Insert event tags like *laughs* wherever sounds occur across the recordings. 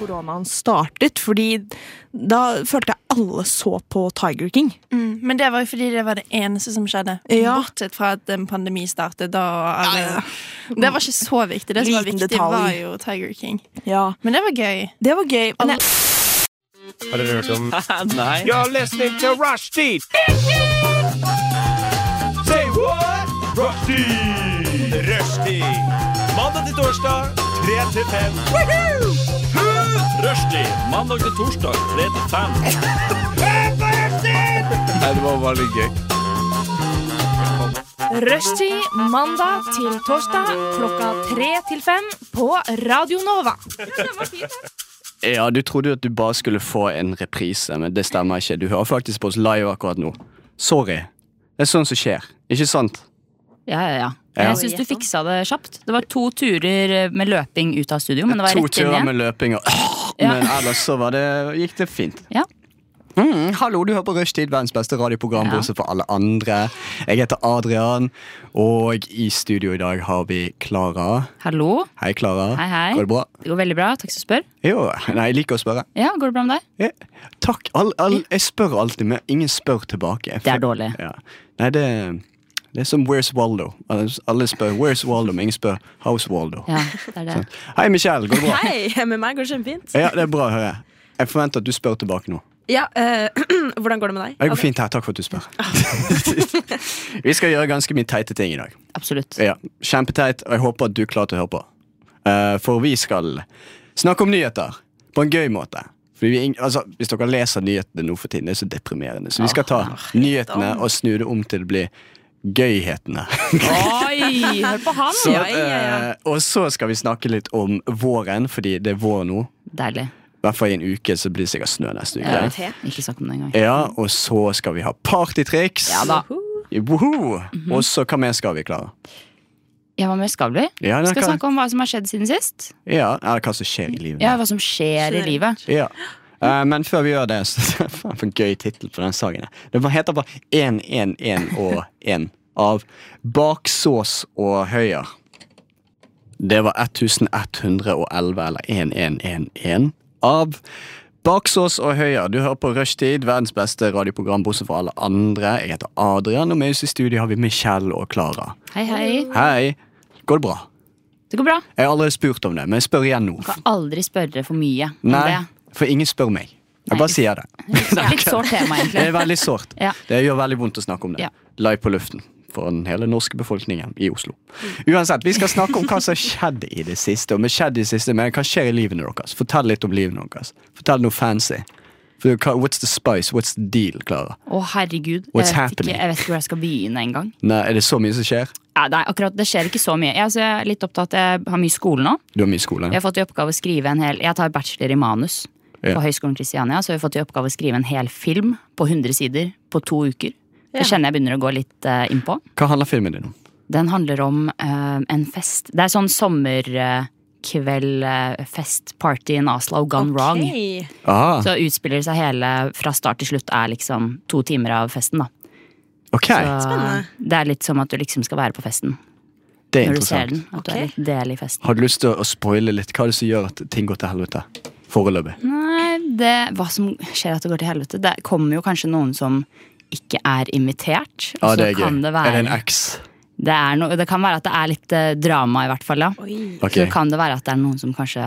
koronaen startet, fordi da følte jeg alle så på Tiger King. Mm, men det var jo fordi det var det eneste som skjedde. Ja. Bortsett fra at en pandemi startet da. Og alle, Det var ikke så viktig. Det som var Liten viktig, detalj. var jo Tiger King. Ja, Men det var gøy. Det var gøy. Men jeg, Har dere hørt om You're listening to Rushdie. Say what? Rushdie. Rushdie. Mandag til torsdag, 3 til 5. Rushdie. Mandag til torsdag, 3 til 5. Nei, det var bare litt gøy. Rushtid mandag til torsdag klokka tre til fem på Radio Nova. Ja, du trodde jo at du bare skulle få en reprise, men det stemmer ikke. Du hører faktisk på oss live akkurat nå. Sorry. Det er sånn som skjer, ikke sant? Ja, ja, ja. Ja. Jeg syns du fiksa det kjapt. Det var to turer eh, med løping ut av studio, men det var To rett inn turer igjen. med løping og Ja. Men ellers så var det, gikk det fint. Ja. Mm, hallo, du hører på Rushtid, verdens beste radioprogram, Ja. bortsett fra alle andre. Jeg heter Adrian, og i studio i dag har vi Klara. Hallo. Hei, Klara. Hei, hei. Går det bra? Det går veldig bra. Takk som spør. Jo, nei, jeg liker å spørre. Ja, går det bra med deg? Ja, takk. All, all, jeg spør alltid, men ingen spør tilbake. Det er dårlig. Ja. Nei, det, det er som Where's Waldo? Alle alle spør Where's Waldo, men ingen spør How's Waldo. Ja, det er det. Hei, Michelle. Går det bra? hei, med meg går det kjempefint. Ja, det er bra å høre. Jeg forventer at du spør tilbake nå. Ja, eh, *clears throat* hvordan går det med deg? Det går fint her. Takk for at du *laughs* spør. *laughs* Vi skal gjøre ganske mye teite ting i dag. Absolutt. Ja, Kjempeteit, og jeg håper at du er klar til å høre på. Eh, for vi skal snakke om nyheter på en gøy måte. Fordi vi, ing- altså, hvis dere leser nyhetene nå for tiden, det er så deprimerende. Så vi skal ta nyhetene og snu det om til det blir *laughs* gøyhetene. Oi! Hør på han! Så, eh, og så skal vi snakke litt om våren, fordi det er vår nå. Deilig. I hvert fall i en uke, så blir det sikkert snø neste Ja. uke. Ikke snakk om det engang. Ja, og så skal vi ha partytriks. Ja da. Mhm. Woho! Og så hva mer skal vi klare? Ja, hva mer skal vi? Ja, det Skal kan- snakke om hva som har skjedd siden sist. Ja, eller hva som skjer i livet. Ja, hva som skjer i livet. Ja. Eh, men før vi gjør det, så *laughs* Faen, for en gøy tittel på den sangen. her. Det bare heter bare 111 og 1 av Baksås og Høyer. Det var 1111, eller 1111, av Baksås og Høyer. Du hører på Rushtid, verdens beste radioprogram bortsett fra alle andre. Jeg heter Adrian, og med oss i studio har vi Michelle og Klara. Hei, hei. Hei. Går det bra? Det går bra. Jeg har aldri spurt om det, men jeg spør igjen nå. Kan aldri spørre for mye om Nei, *laughs* det. for ingen spør meg. Jeg bare sier det. Litt sårt tema, Det egentlig. er veldig sårt. Ja. Det gjør veldig vondt å snakke om det. Ja. Live på luften foran hele den norske befolkningen i Oslo. Uansett, vi skal snakke om hva som har skjedd i det siste. Og med skjedd i det siste, men hva skjer i livene deres? Fortell litt om livene deres. Fortell noe fancy. For hva- What's the spice? What's the deal, Klara? Å, herregud. Jeg vet, What's ikke, happening? jeg vet ikke hvor jeg skal begynne engang. Nei, Er det så mye som skjer? Ja, nei, akkurat, det skjer ikke så mye. Jeg, altså, jeg er litt opptatt, jeg har mye skole nå. Du har mye skole? Jeg har fått i oppgave å skrive en hel Jeg tar bachelor i manus Ja. på Høgskolen Kristiania. Så har vi fått i oppgave å skrive en hel film på 100 sider på to uker. Det kjenner jeg begynner å gå litt eh, innpå. Hva handler filmen din om? Den handler om eh, en fest. Det er sånn sommerkveldfest-party in Oslo gone wrong. Hei. Ah, Så utspiller seg hele fra start til slutt er liksom to timer av festen, da. ok, Så eh, Spennende. Det er litt som at du liksom skal være på festen Det er når du ser interessant. den. At du er litt del i festen. Har du lyst til å spoile litt? Hva er det som gjør at ting går til helvete? Foreløpig. Nei, det, hva som skjer at det går til helvete? Det kommer jo kanskje noen som ikke er invitert. Ja, og så det er gøy. kan det Er det en være X? det, er no, det kan være at det er litt eh, drama, i hvert fall. Ja. Så Ok, kan det være at det er noen som kanskje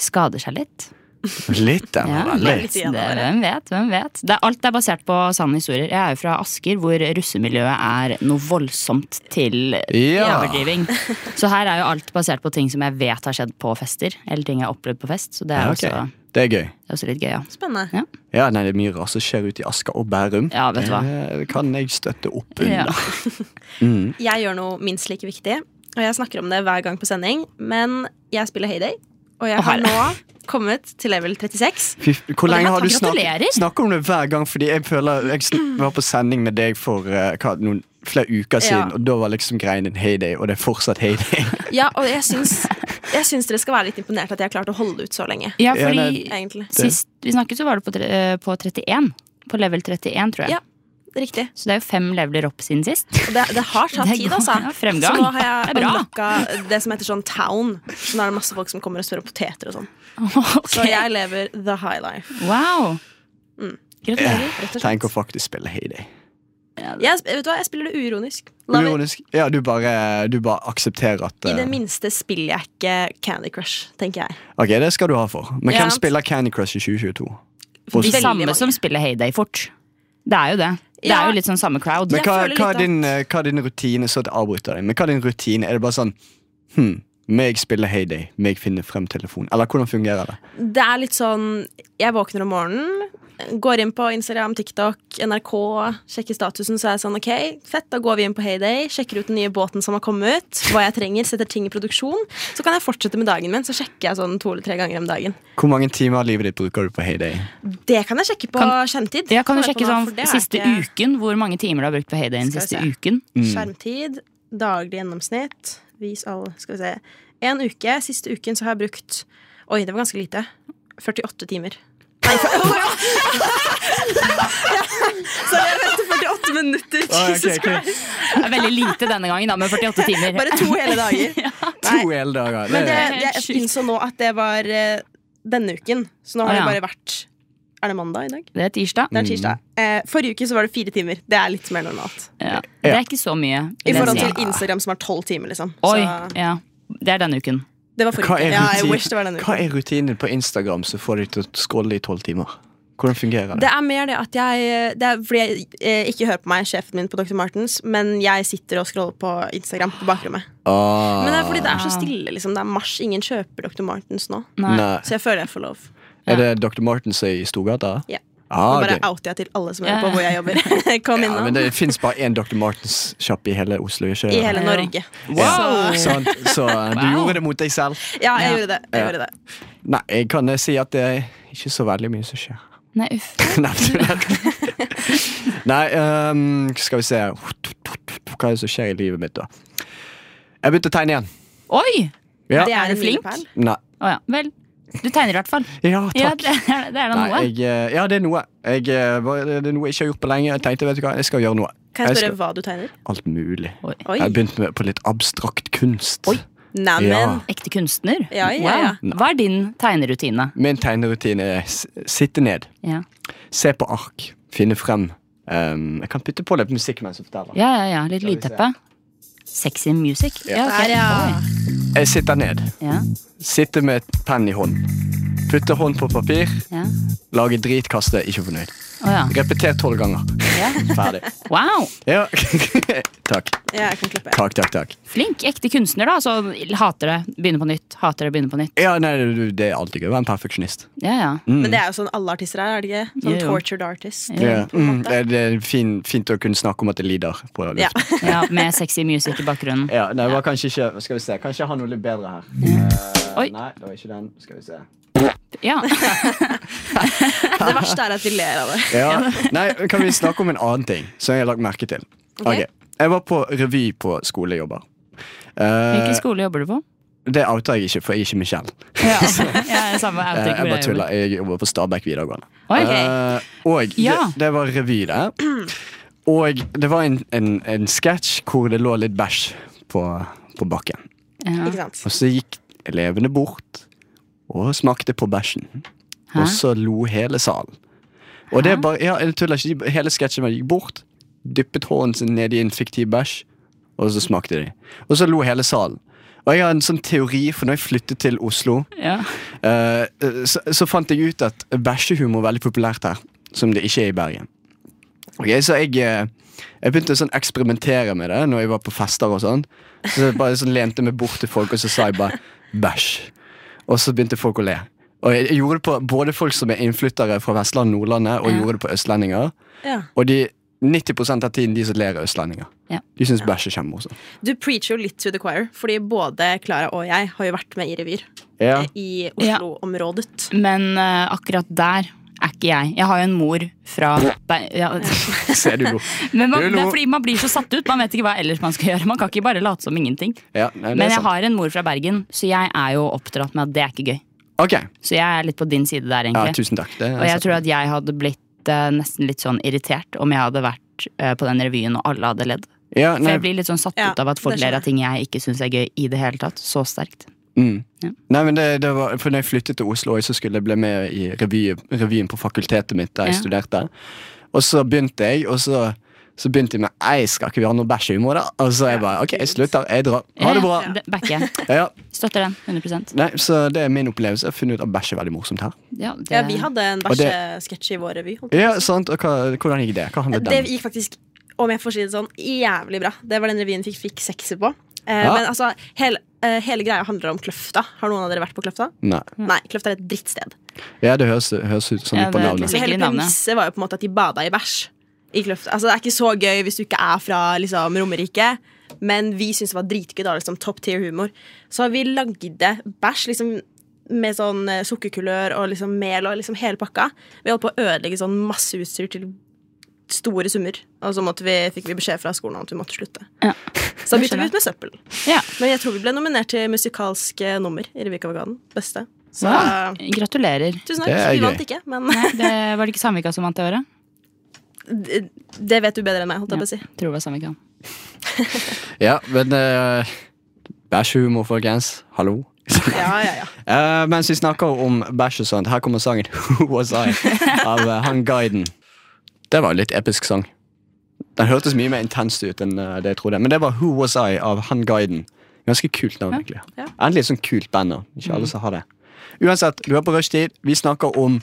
skader seg litt. Litt, den. Ja, veldig. det, hvem vet, hvem vet. Det, er- alt er basert på sanne historier. Jeg er jo fra Asker, hvor russemiljøet er noe voldsomt til Ja. overdriving. Så her er jo alt basert på ting som jeg vet har skjedd på fester. Eller ting jeg har opplevd på fest. Så det er, Ja, ok. også, Det er gøy. det er også litt gøy, ja. Spennende. Ja, nei, det er mye rart som skjer ute i Asker og Bærum. Ja, vet du hva. Det kan jeg støtte opp Ja. under. Jeg gjør noe minst like viktig, og jeg snakker om det hver gang på sending, men jeg spiller Heyday, og jeg har herre. nå kommet til level 36. Fy f- Hvor lenge har du Gratulerer. snakket snakket om det hver gang? Fordi jeg føler Jeg sn- var på sending med deg for eh, hva, noen flere uker siden, Ja. og da var liksom greien din heyday, og det er fortsatt heyday. Ja, og jeg syns, jeg syns dere skal være litt imponert at jeg har klart å holde ut så lenge. Ja, Ja, fordi nei. Egentlig. sist vi snakket, så var du på, tre- eh, på 31. På level 31, tror jeg. Ja. riktig. Så det er jo fem leveler opp siden *laughs* sist. Og Det, det har tatt Det tid, går- altså. ja, fremgang. Så nå har jeg Det er bra. unlocka det som heter sånn town. Så nå er det masse folk som kommer og spør om poteter og sånn. Så Ok. *laughs* jeg lever the high life. Wow. Gratulerer. Rett og Tenk å slett. faktisk spille Heyday. Jeg, sp- vet du hva, jeg spiller det uironisk. La meg- Uironisk. Ja, du bare, du bare aksepterer at I det eh, minste spiller jeg ikke Candy Crush, tenker jeg. Ok, det skal du ha for. Men Ja. hvem spiller Candy Crush i 2022? Og- De Veldig samme mange. som spiller Heyday fort. Det er jo det. Det Ja. er jo litt sånn samme crowd. Men Jeg hva, føler hva, litt er din, eh, hva er din rutine? Så at jeg avbryter deg. Men hva er din rutine? Er det bare sånn Hm, meg spiller Heyday, meg finner frem telefonen? Eller hvordan fungerer det? Det er litt sånn Jeg våkner om morgenen, går inn på Instagram, TikTok, NRK, sjekker statusen, så er jeg sånn OK, fett, da går vi inn på Heyday, sjekker ut den nye båten som har kommet ut, hva jeg trenger, setter ting i produksjon. Så kan jeg fortsette med dagen min, så sjekker jeg sånn to eller tre ganger om dagen. Hvor mange timer av livet ditt bruker du på Heyday? Det kan jeg sjekke på Kan- skjermtid. Jeg kan jo Kommer sjekke på nå, sånn for det er siste ikke- uken hvor mange timer du har brukt på Heyday den Skal vi siste se. uken. Mm. Skjermtid, daglig gjennomsnitt, vis all Skal vi se. En uke. Siste uken så har jeg brukt Oi, det var ganske lite. 48 timer. Nei, for, *laughs* Så jeg venter 48 minutter. Jesus Christ. Det er veldig lite denne gangen, da, med *laughs* 48 timer. Bare to hele dager. To hele dager. Men det, Det, det, jeg innså nå at det var eh, denne uken. Så nå har Å, det ja. bare vært Er det mandag i dag? *laughs* Det er tirsdag. Mm. Det er tirsdag. Eh, forrige uke så var det fire timer. Det er litt mer normalt. Ja. Det er ikke så mye. I vil jeg forhold si. til Instagram, som har tolv timer, liksom. Oi, Så- ja. Det er denne uken. Det var forrige hva, uke. er Ja, I rutin- wish det var denne hva uken. er rutinen på Instagram som får deg til å scrolle i tolv timer? Hvordan fungerer Det det? er mer det at jeg Det er fordi jeg eh, ikke hører på meg, sjefen min på Dr. Martens, men jeg sitter og scroller på Instagram på bakrommet. Ah, Men det er fordi det er så stille, liksom. Det er mars. Ingen kjøper Dr. Martens nå. Nei. nei. Så jeg føler jeg får lov. Er det Dr. Martens i Storgata? Ja. Nå Ah, bare ok. outer jeg til alle som Ja, hører på hvor jeg jobber. *laughs* *laughs* Kom ja, men innom. det fins bare én Dr. Martens-sjappe i hele Oslo. Ikke? I hele Ja. Norge. Wow. Sant? Så eh, du Wow. gjorde det mot deg selv. Ja, jeg Ja. gjorde det. Jeg Ja. gjorde det. Nei, jeg kan eh, si at det er ikke så veldig mye som skjer. *laughs* Nei, uff. *laughs* Nei, Nei ehm, skal vi se Hva er det som skjer i livet mitt, da? Jeg begynte å tegne igjen. Oi! Ja. Det Er er du en flink? milepæl. Nei. Å ja. Vel, du tegner i hvert fall. Ja, Ja, takk. det er, det er da noe. Nei, jeg, eh, ja, det er noe. Jeg, eh, var- det er noe jeg ikke har gjort på lenge. Jeg tenkte, vet du hva, jeg skal gjøre noe. Kan jeg Jeg spørre hva du tegner? Alt mulig. Oi. Oi. Jeg har begynt med, på litt abstrakt kunst. Neimen. Ja. Ekte kunstner? Ja, ja, Wow. Hva er din tegnerutine? Min tegnerutine er s- sitte ned, Ja. se på ark, finne frem. ehm, jeg kan putte på litt musikk mens jeg forteller. Ja, ja, ja. Litt Skal vi se. lydteppe. Sexy music. Ja, ok. Der, ja. Jeg sitter ned, ja. sitter med et penn i hånd. Putter hånd på papir, ja. lager drit, kaster, ikke fornøyd. Å ja. Repeter tolv ganger. ja. Ferdig. Wow! *laughs* Ja. *laughs* takk. ja. Jeg kan klippe. Takk, takk, takk. Flink ekte kunstner, da. Så hater det, begynner på nytt. Hater det, begynner på nytt. Ja, nei, du, det er alltid gøy å være en perfeksjonist. Ja, ja. Mm. Men det er jo sånn alle artister er, er det ikke? Jo, Sånn jo. tortured artist. Ja. Mm, det er- det er fin, fint å kunne snakke om at jeg lider. på luft. Ja. ja Med sexy music i bakgrunnen. Ja, nei, det var kanskje ikke Skal vi se, kanskje jeg har noe litt bedre her. Eh, Oi. Nei, det var ikke den. Skal vi se. Ja. Det verste er at vi ler av det. Ja. Nei, kan vi snakke om en annen ting som jeg har lagt merke til? Ok. Jeg var på revy på skolejobber. Eh, Hvilken skole jobber du på? det outer jeg ikke, for jeg er ikke Michelle. Ja, ja samme Eh, outtake jeg hvor bare jeg tuller. jobber. Jeg jobber på Stabæk videregående. Oi. Eh, og Ja. det, det var revy, det. Og det var en, en, en sketsj hvor det lå litt bæsj på, på bakken. Ja. Ikke sant? Og så gikk elevene bort og smakte på bæsjen. Hæ? Og så lo hele salen. Og det er bare, ja, jeg tuller ikke, de- hele sketsjen var de gikk bort, dyppet hånden sin ned i en fiktiv bæsj, og så smakte de. Og så lo hele salen. Og jeg har en sånn teori, for når jeg flyttet til Oslo, Ja. eh, så, så fant jeg ut at bæsjehumor er veldig populært her, som det ikke er i Bergen. Ok, så jeg, eh, jeg begynte å sånn eksperimentere med det når jeg var på fester og sånn. Så jeg bare sånn lente meg bort til folk, og så sa jeg bare bæsj. Og så begynte folk å le. Og jeg, jeg gjorde det på både folk som er innflyttere fra Vestlandet og Nordlandet, og Ja. gjorde det på østlendinger. Ja. Og de 90 av tiden de som ler, er østlendinger. Ja. De syns bæsj er kjempemorsomt. Du preacher jo litt to the choir, fordi både Klara og jeg har jo vært med i revyer Ja. eh, i Oslo-området. Men eh, akkurat der er ikke jeg. Jeg har jo en mor fra Nei, ja. Ser du *laughs* lo. Men man, Du lo. det er fordi man blir så satt ut. Man vet ikke hva ellers man skal gjøre. Man kan ikke bare late som ingenting. Ja, nei, det er Men jeg sant. har en mor fra Bergen, så jeg er jo oppdratt med at det er ikke gøy. Ok. Så jeg er litt på din side der, Ja, egentlig. tusen takk. Det er Og jeg sant. tror at jeg hadde blitt eh, nesten litt sånn irritert om jeg hadde vært vært eh, på den revyen, og alle hadde ledd. Ja, For nei, jeg blir litt sånn satt Ja, ut av at folk det skjønner ler av ting jeg ikke syns er gøy i det hele tatt. Så sterkt. mm. Ja. nei, men det, det var For når jeg flyttet til Oslo, så skulle jeg bli med i revy, revyen på fakultetet mitt der jeg Ja. studerte. Og så begynte jeg, og så, så begynte jeg med Ei, skal ikke vi ha noe bæsjehumor, da? Og så jeg bare OK, jeg slutter. Jeg drar. Ha det bra. Ja, Backer. Ja, ja. Eh, Støtter den 100 Nei, så det er min opplevelse. Jeg har funnet ut at bæsj er veldig morsomt her. Ja, det, Ja, vi hadde en Og det- bæsjesketsj i vår revy. holdt jeg Ja, på å si. sant, og hva, Hvordan gikk det? Hva handlet Det den om? gikk faktisk, om jeg får si det sånn, jævlig bra. Det var den revyen vi fikk sekser på. Eh, Ja. Men altså, hele, eh, hele greia handler om Kløfta. Har noen av dere vært på Kløfta? Nei. Mm. Nei, Kløfta er et drittsted. Ja, det høres, høres ut sånn Ja, ut på det er navnet. litt- Så Altså, hele Ligger i navnet. premisset var jo på en måte at de bada i bæsj i Kløfta. Altså, det er ikke så gøy hvis du ikke er fra liksom, Romerike, men vi syntes det var dritgøy. Da, liksom, top tier humor. Så vi lagde bæsj liksom, med sånn eh, sukkerkulør og liksom, mel og liksom, hele pakka. Vi holdt på å ødelegge sånn masse utstyr til store summer. Og så måtte vi, fikk vi beskjed fra skolen om at vi måtte slutte. Ja. Så da bytta vi ut med søppel. Ja. Men jeg tror vi ble nominert til musikalsk eh, nummer i Revikavagaden. Beste. Så Wow. Sånn. Gratulerer. tusen Det takk. er Vi gøy. vant ikke, men Nei, det var det ikke Samvika som vant det året? det, det vet du bedre enn meg, holdt jeg på å si. Tror det var Samvika. Ja, men eh, Bæsjehumor, folkens. Hallo. *laughs* Ja, ja, ja. Eh, mens vi snakker om bæsj og sånt, her kommer sangen *laughs* Who Was I? av eh, han guiden. Det var en litt episk sang. Den hørtes mye mer intenst ut enn eh, det jeg trodde. Men det var Who Was I? av han guiden. Ganske kult navn, egentlig. Ja. Mm. Endelig et sånt kult band nå. Ikke alle som har det. Uansett, du er på rushtid. Vi snakker om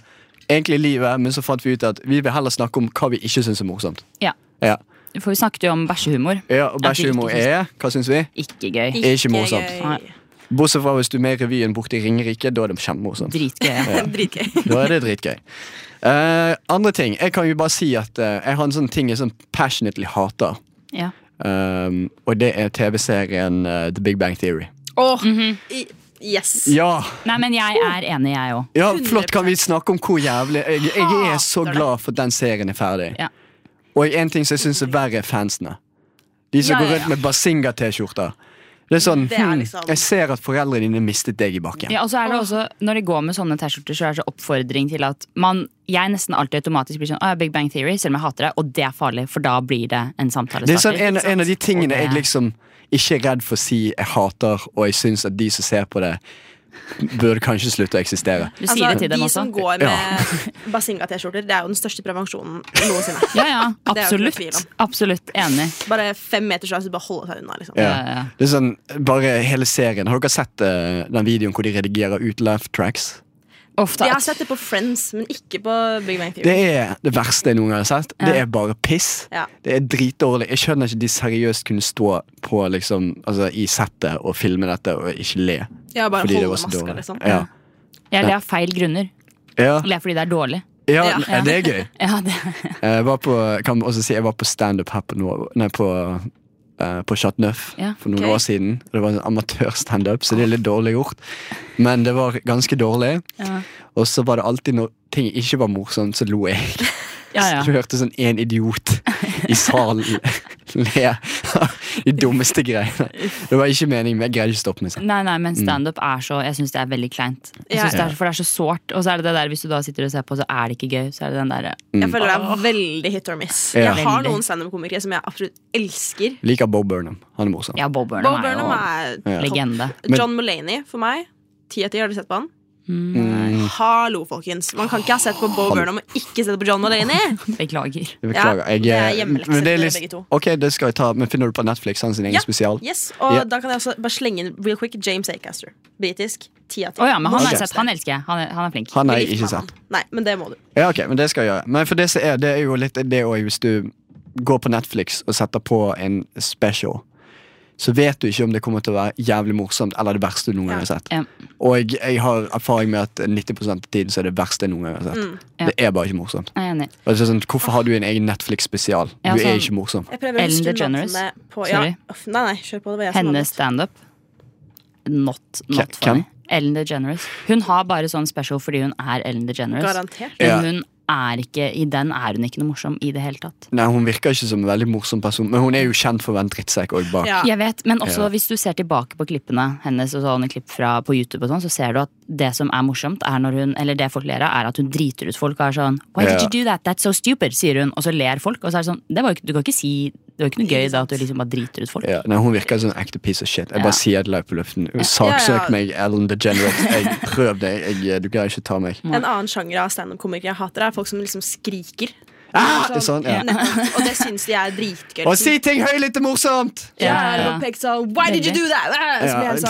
egentlig livet, men så fant vi ut at vi vil heller snakke om hva vi ikke syns er morsomt. Ja. Ja, For vi snakket jo om bæsjehumor. ja Og bæsjehumor er Hva syns vi? Ikke gøy. Ikke morsomt. gøy. Nei. Bortsett fra hvis du er med i revyen borte i Ringerike. Da er det kjempemorsomt. Dritgøy. Dritgøy. Da er det dritgøy. Eh, andre ting. Jeg kan jo bare si at eh, jeg har en sånn ting jeg sånn passionately hater. Ja. Um, og det er TV-serien eh, The Big Bang Theory. Åh, i- Yes. Ja! Nei, men jeg er enig, jeg òg. ja flott, kan vi snakke om hvor jævlig Jeg, jeg er så glad for at den serien er ferdig. Ja. Og en ting som jeg syns er verre, er fansene. De som Ja, ja, går rundt med Basinga-T-skjorter. Det er sånn Det er hmm, liksom- Jeg ser at foreldrene dine mistet deg i bakken. Ja, og så er det også, Når de går med sånne T-skjorter, så er det så oppfordring til at man, jeg nesten alltid automatisk blir sånn «Å, ja, Big Bang Theory, selv om jeg hater det, og det er farlig, for da blir det en samtale. Det er sånn en, starter, en av de ikke sant? tingene Og jeg det- liksom ikke er redd for å si jeg hater, og jeg syns at de som ser på det, burde kanskje slutte å eksistere. Du sier det Altså, til dem de også. som går med Basinga-T-skjorter, det er jo den største prevensjonen noensinne. *laughs* Ja, ja, *laughs* Det er jo ikke noe absolutt. tvil om. Absolutt enig. Bare fem meter fra, så bare holde seg unna. liksom Ja. Ja, ja. Det er sånn, bare hele serien. Har dere sett eh, den videoen hvor de redigerer ut laugh tracks? Ofte Jeg har at sett det på Friends, men ikke på Big Bang Det Theory. er det verste jeg noen gang har sett. Det er bare piss. Ja. Det er dritdårlig. Jeg skjønner ikke de seriøst kunne stå på liksom, altså, i settet og filme dette og ikke le. Ja, bare Fordi det holde var så maska, dårlig. liksom. Ja. jeg ler av feil grunner. Ja. Jeg ler fordi det er dårlig. Ja, Ja. ja, det er gøy. Ja, det, *laughs* Eh, Jeg var på, kan også si, jeg var på standup her på, Nor- nei, på, eh, på Chateauneuf Ja, for noen ok. år siden. Det var en amatørstandup, så det er litt dårlig gjort. Men det var ganske dårlig. Ja. Og så var det alltid når ting ikke var morsomt, så lo jeg. ja, *laughs* ja. Du hørte sånn en idiot i *laughs* salen le av de dummeste greiene. Det var ikke meningen, men jeg greide ikke å stoppe meg selv. Nei, nei, Mm. men standup er så Jeg syns det er veldig kleint. Jeg Ja. synes det er, for det er så sårt. Og så er det det der hvis du da sitter og ser på, så er det ikke gøy. Så er det den der Jeg føler det er veldig hit or miss. Mm. Ja. Jeg har Veldig. noen standup-komikere som jeg absolutt elsker. Liker Bob Burnham. Han er morsom. Ja, Bob Burnham Bob er jo Burnham er Ja. topp. legende. Men- John Mulaney for meg. Ti av ti, har du sett på han? Mm, Hallo, folkens. Man kan ikke ha sett på Bo Burnham og ikke sett på John Mulaney. Beklager. Beklager. Ja, Jeg, det er eh, hjemmelekse men det er til litt- begge to. Ok, det skal jeg ta, men finner du på Netflix hans sin egen Ja. spesial? Yes, og Ja. da kan jeg også bare slenge inn real quick James Acaster. Britisk. Ti av ti. Å ja, men han, har jeg Ok. sett, han elsker jeg. Han er, han er flink. Han har Blir jeg gift ikke med sett. han. Nei, men det må du. Ja, ok, men det skal jeg gjøre. Men for det som er, det er jo litt det òg, hvis du går på Netflix og setter på en special, så vet du ikke om det kommer til å være jævlig morsomt eller det verste du noen gang har sett. Ja. Og jeg, jeg har erfaring med at 90 av tiden så er det verste jeg noen gang har sett. Mm, Ja. Det er bare ikke morsomt. Jeg er enig. Altså, sånn, hvorfor har du en egen Netflix-spesial? Du Ja, er sånn- ikke morsom. Jeg prøver å Ellen huske navnet DeGeneres. på ja. Sorry. uff, Nei, nei, kjør på. Det var jeg som Hennes hadde standup Not, not Hvem? funny. Ellen DeGeneres. Hun har bare sånn special fordi hun er Ellen DeGeneres. Garantert. Men Ja. hun er ikke, i den er hun ikke noe morsom i det hele tatt. Nei, Hun virker ikke som en veldig morsom person, men hun er jo kjent for å være en drittsekk òg bak. Ja. Jeg vet, Men også Ja. hvis du ser tilbake på klippene hennes og sånne klipp fra på YouTube, og sånn, så ser du at det som er morsomt, er når hun, eller det folk ler av, er at hun driter ut folk og er sånn Why did Ja. you do that? That's so stupid, sier hun, og så ler folk. Og så er det sånn, det var jo ikke, Du kan ikke si det var jo ikke noe gøy da at du liksom bare driter ut folk. Ja, nei, Hun virker som en ekte piece of shit. Jeg bare Ja. sier det live på luften. Saksøk Ja, ja. meg, Ellen DeGeneres. Jeg prøv det. Jeg, eh, du greier ikke ta meg. En annen sjanger av standup-komikere jeg hater, er folk som liksom skriker. Ah, det er sånn, ja. Nettopp. Og det syns de er dritgøy. Å si ting høylytt er morsomt! Mm. Ja, Ja, ja. og pek sånn Why did you do that? Så blir jeg Ja.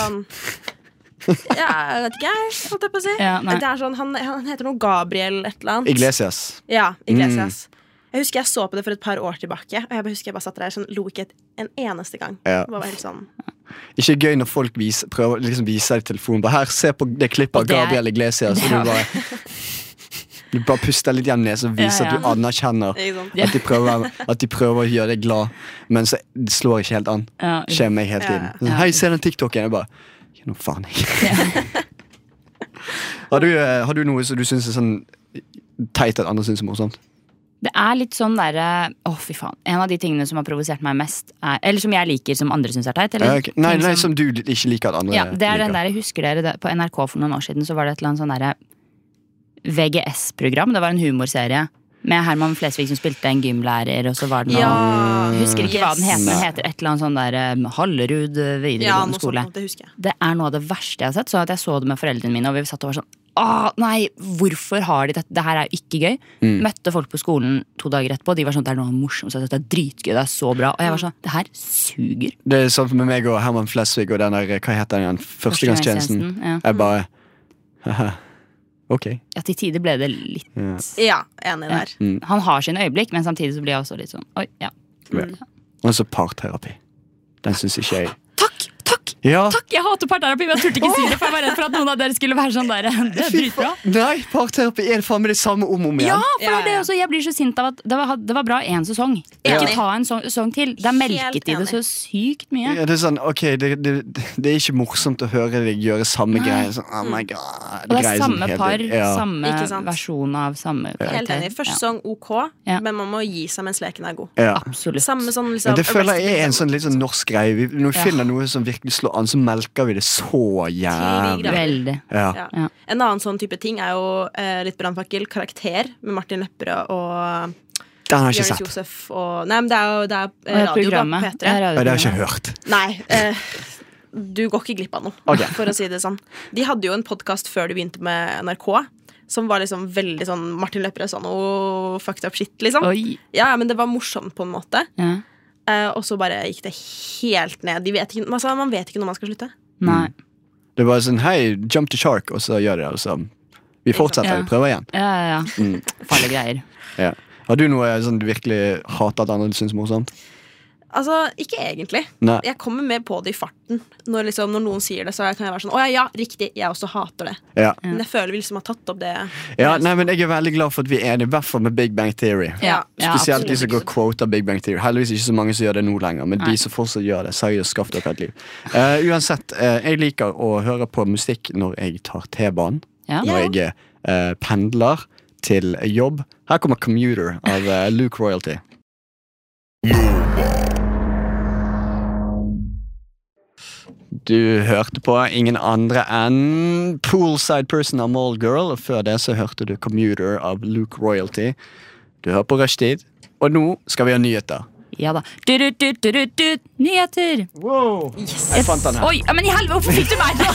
*laughs* sånn Ja, jeg vet ikke, jeg, holdt jeg på å si. Ja, nei. det er sånn, han, han heter noe Gabriel et eller annet. Iglesias. Ja, Mm. Iglesias. Jeg husker jeg så på det for et par år tilbake, og jeg bare husker jeg bare satt der og sånn, lo ikke et, en eneste gang. Ja. Det var bare helt sånn Ikke gøy når folk vis, prøver å liksom vise deg telefonen. Bare her, se på det klippet Og av det er- Gabriel Iglesias. Og Ja. du bare Du bare puster litt gjennom nesen og viser Ja, ja. at du anerkjenner ikke sånn. sant? at de, prøver, at de prøver å gjøre deg glad, men så det slår ikke helt an. Ja. Skjer meg hele tiden. Sånn, Hei, se den TikToken. Jeg bare «Ja, Nå faen, jeg. *laughs* har, du, eh, har du noe som du syns er sånn teit at andre syns er morsomt? Det er litt sånn derre Å, fy faen. En av de tingene som har provosert meg mest, er, eller som jeg liker som andre syns er teit. Eller Eh, ok. Nei, ting nei, som- som du ikke liker at andre Ja, det er liker. den der, husker dere det, På NRK for noen år siden så var det et eller annet sånn derre VGS-program. Det var en humorserie med Herman Flesvig som spilte en gymlærer, og så var det noe Ja. Husker ikke hva den Yes. heter, men Nei. heter et eller annet sånn der eh, Hallerud eh, Ja, videregående noe skole. sånt. Det husker jeg. Det er noe av det verste jeg har sett. Så at jeg så det med foreldrene mine, og vi satt og var sånn Åh, nei, hvorfor har de dette? Det her er jo ikke gøy. Møtte folk på skolen to dager etterpå, og de var sånn Det er noe av det morsomste, dette er dritgøy, det er så bra. Og jeg Mm. var sånn Det her suger. Det er sånn med meg og Herman Flesvig og den der, hva heter den igjen? Førstegangstjenesten. Ja. Jeg bare haha, Ok. ja, til tider ble det litt Ja, enig der. Han har sine øyeblikk, men samtidig så blir jeg også litt sånn Oi, ja. Og så parterapi. Den syns ikke jeg. Takk! Takk! Ja. Takk! Jeg hater parterapi, men jeg turte ikke si det, for jeg var redd for at noen av dere skulle være sånn der. *laughs* Det er Fy dritbra. faen. Nei, parterapi er faen meg det samme om og om Ja, igjen. for det er Ja, det ja. også. Jeg blir så sint av at det var, det var bra én sesong. Ikke Enig. ta en so- sesong til. Det er Helt melket i det enig. så sykt mye. Ja, det er sånn, ok, det, det, det er ikke morsomt å høre deg gjøre samme greie. Sånn, oh my god. Mm. Og det greier er sånn samme hele par, tiden. ja. samme Ikke sant? versjon av samme Helt karakter. enig. Første Ja, sesong OK, Ja. men man må gi seg mens leken er god. Ja. absolutt. Samme sånn liksom Men det føler jeg er en Arrested sånn litt sånn norsk greie. Vi, når vi Ja. finner noe som virkelig slår an, så melker vi det så jævlig. Til de grader. Veldig. Ja. Ja. Ja. En annen sånn type ting er jo eh, litt brannfakkel, karakter, med Martin Lepperød og Den har jeg ikke Jonis sett. Josef og Nei, men det er jo det er, Og eh, det radio, da, programmet. på Det er P3. Ja, Det har radioprogrammet. jeg ikke hørt. Nei. Eh, du går ikke glipp av noe, Ok. for å si det sånn. De hadde jo en podkast før de begynte med NRK. Som var liksom veldig sånn Martin Lepperød sånn oh, fucked up shit, liksom. Oi. Ja, ja, men det var morsomt på en måte. Ja. Mm. Eh, og så bare gikk det helt ned. De vet ikke, altså, man vet ikke når man skal slutte. Nei. Det var sånn hei, jump to shark, og så gjør de det. Og så vi fortsetter, Ja. vi prøver igjen. Ja, ja, Mm. ja. Farlige greier. Ja. Har du noe sånn du virkelig hater at andre syns er morsomt? Altså, ikke egentlig. Nei. Jeg kommer med på det i farten. Når, liksom, når noen sier det, så kan jeg være sånn Å ja, ja, riktig, jeg også hater det. Ja. Men jeg føler vi liksom har tatt opp det. ja, nei, men Jeg er veldig glad for at vi er enige, i hvert fall med Big Bang Theory. Ja, ja, Spesielt de absolutt. som går quote av Big Bang Theory. Heldigvis ikke så mange som gjør det nå lenger. Men de som fortsatt gjør det, seriøst, skaff dere et liv. Eh, uansett, eh, jeg liker å høre på musikk når jeg tar T-banen. Ja. Når jeg eh, pendler til jobb. Her kommer Commuter av eh, Luke Royalty. Du hørte på ingen andre enn Poolside Person av Mallgirl. Og før det så hørte du Commuter av Luke Royalty. Du hører på Rushtid, og nå skal vi ha nyheter. Ja da. Du-du-du-du-du-du. Nyheter! Jeg fant den her. Oi, ja, men i helvete, hvorfor fikk du meg *laughs* nå?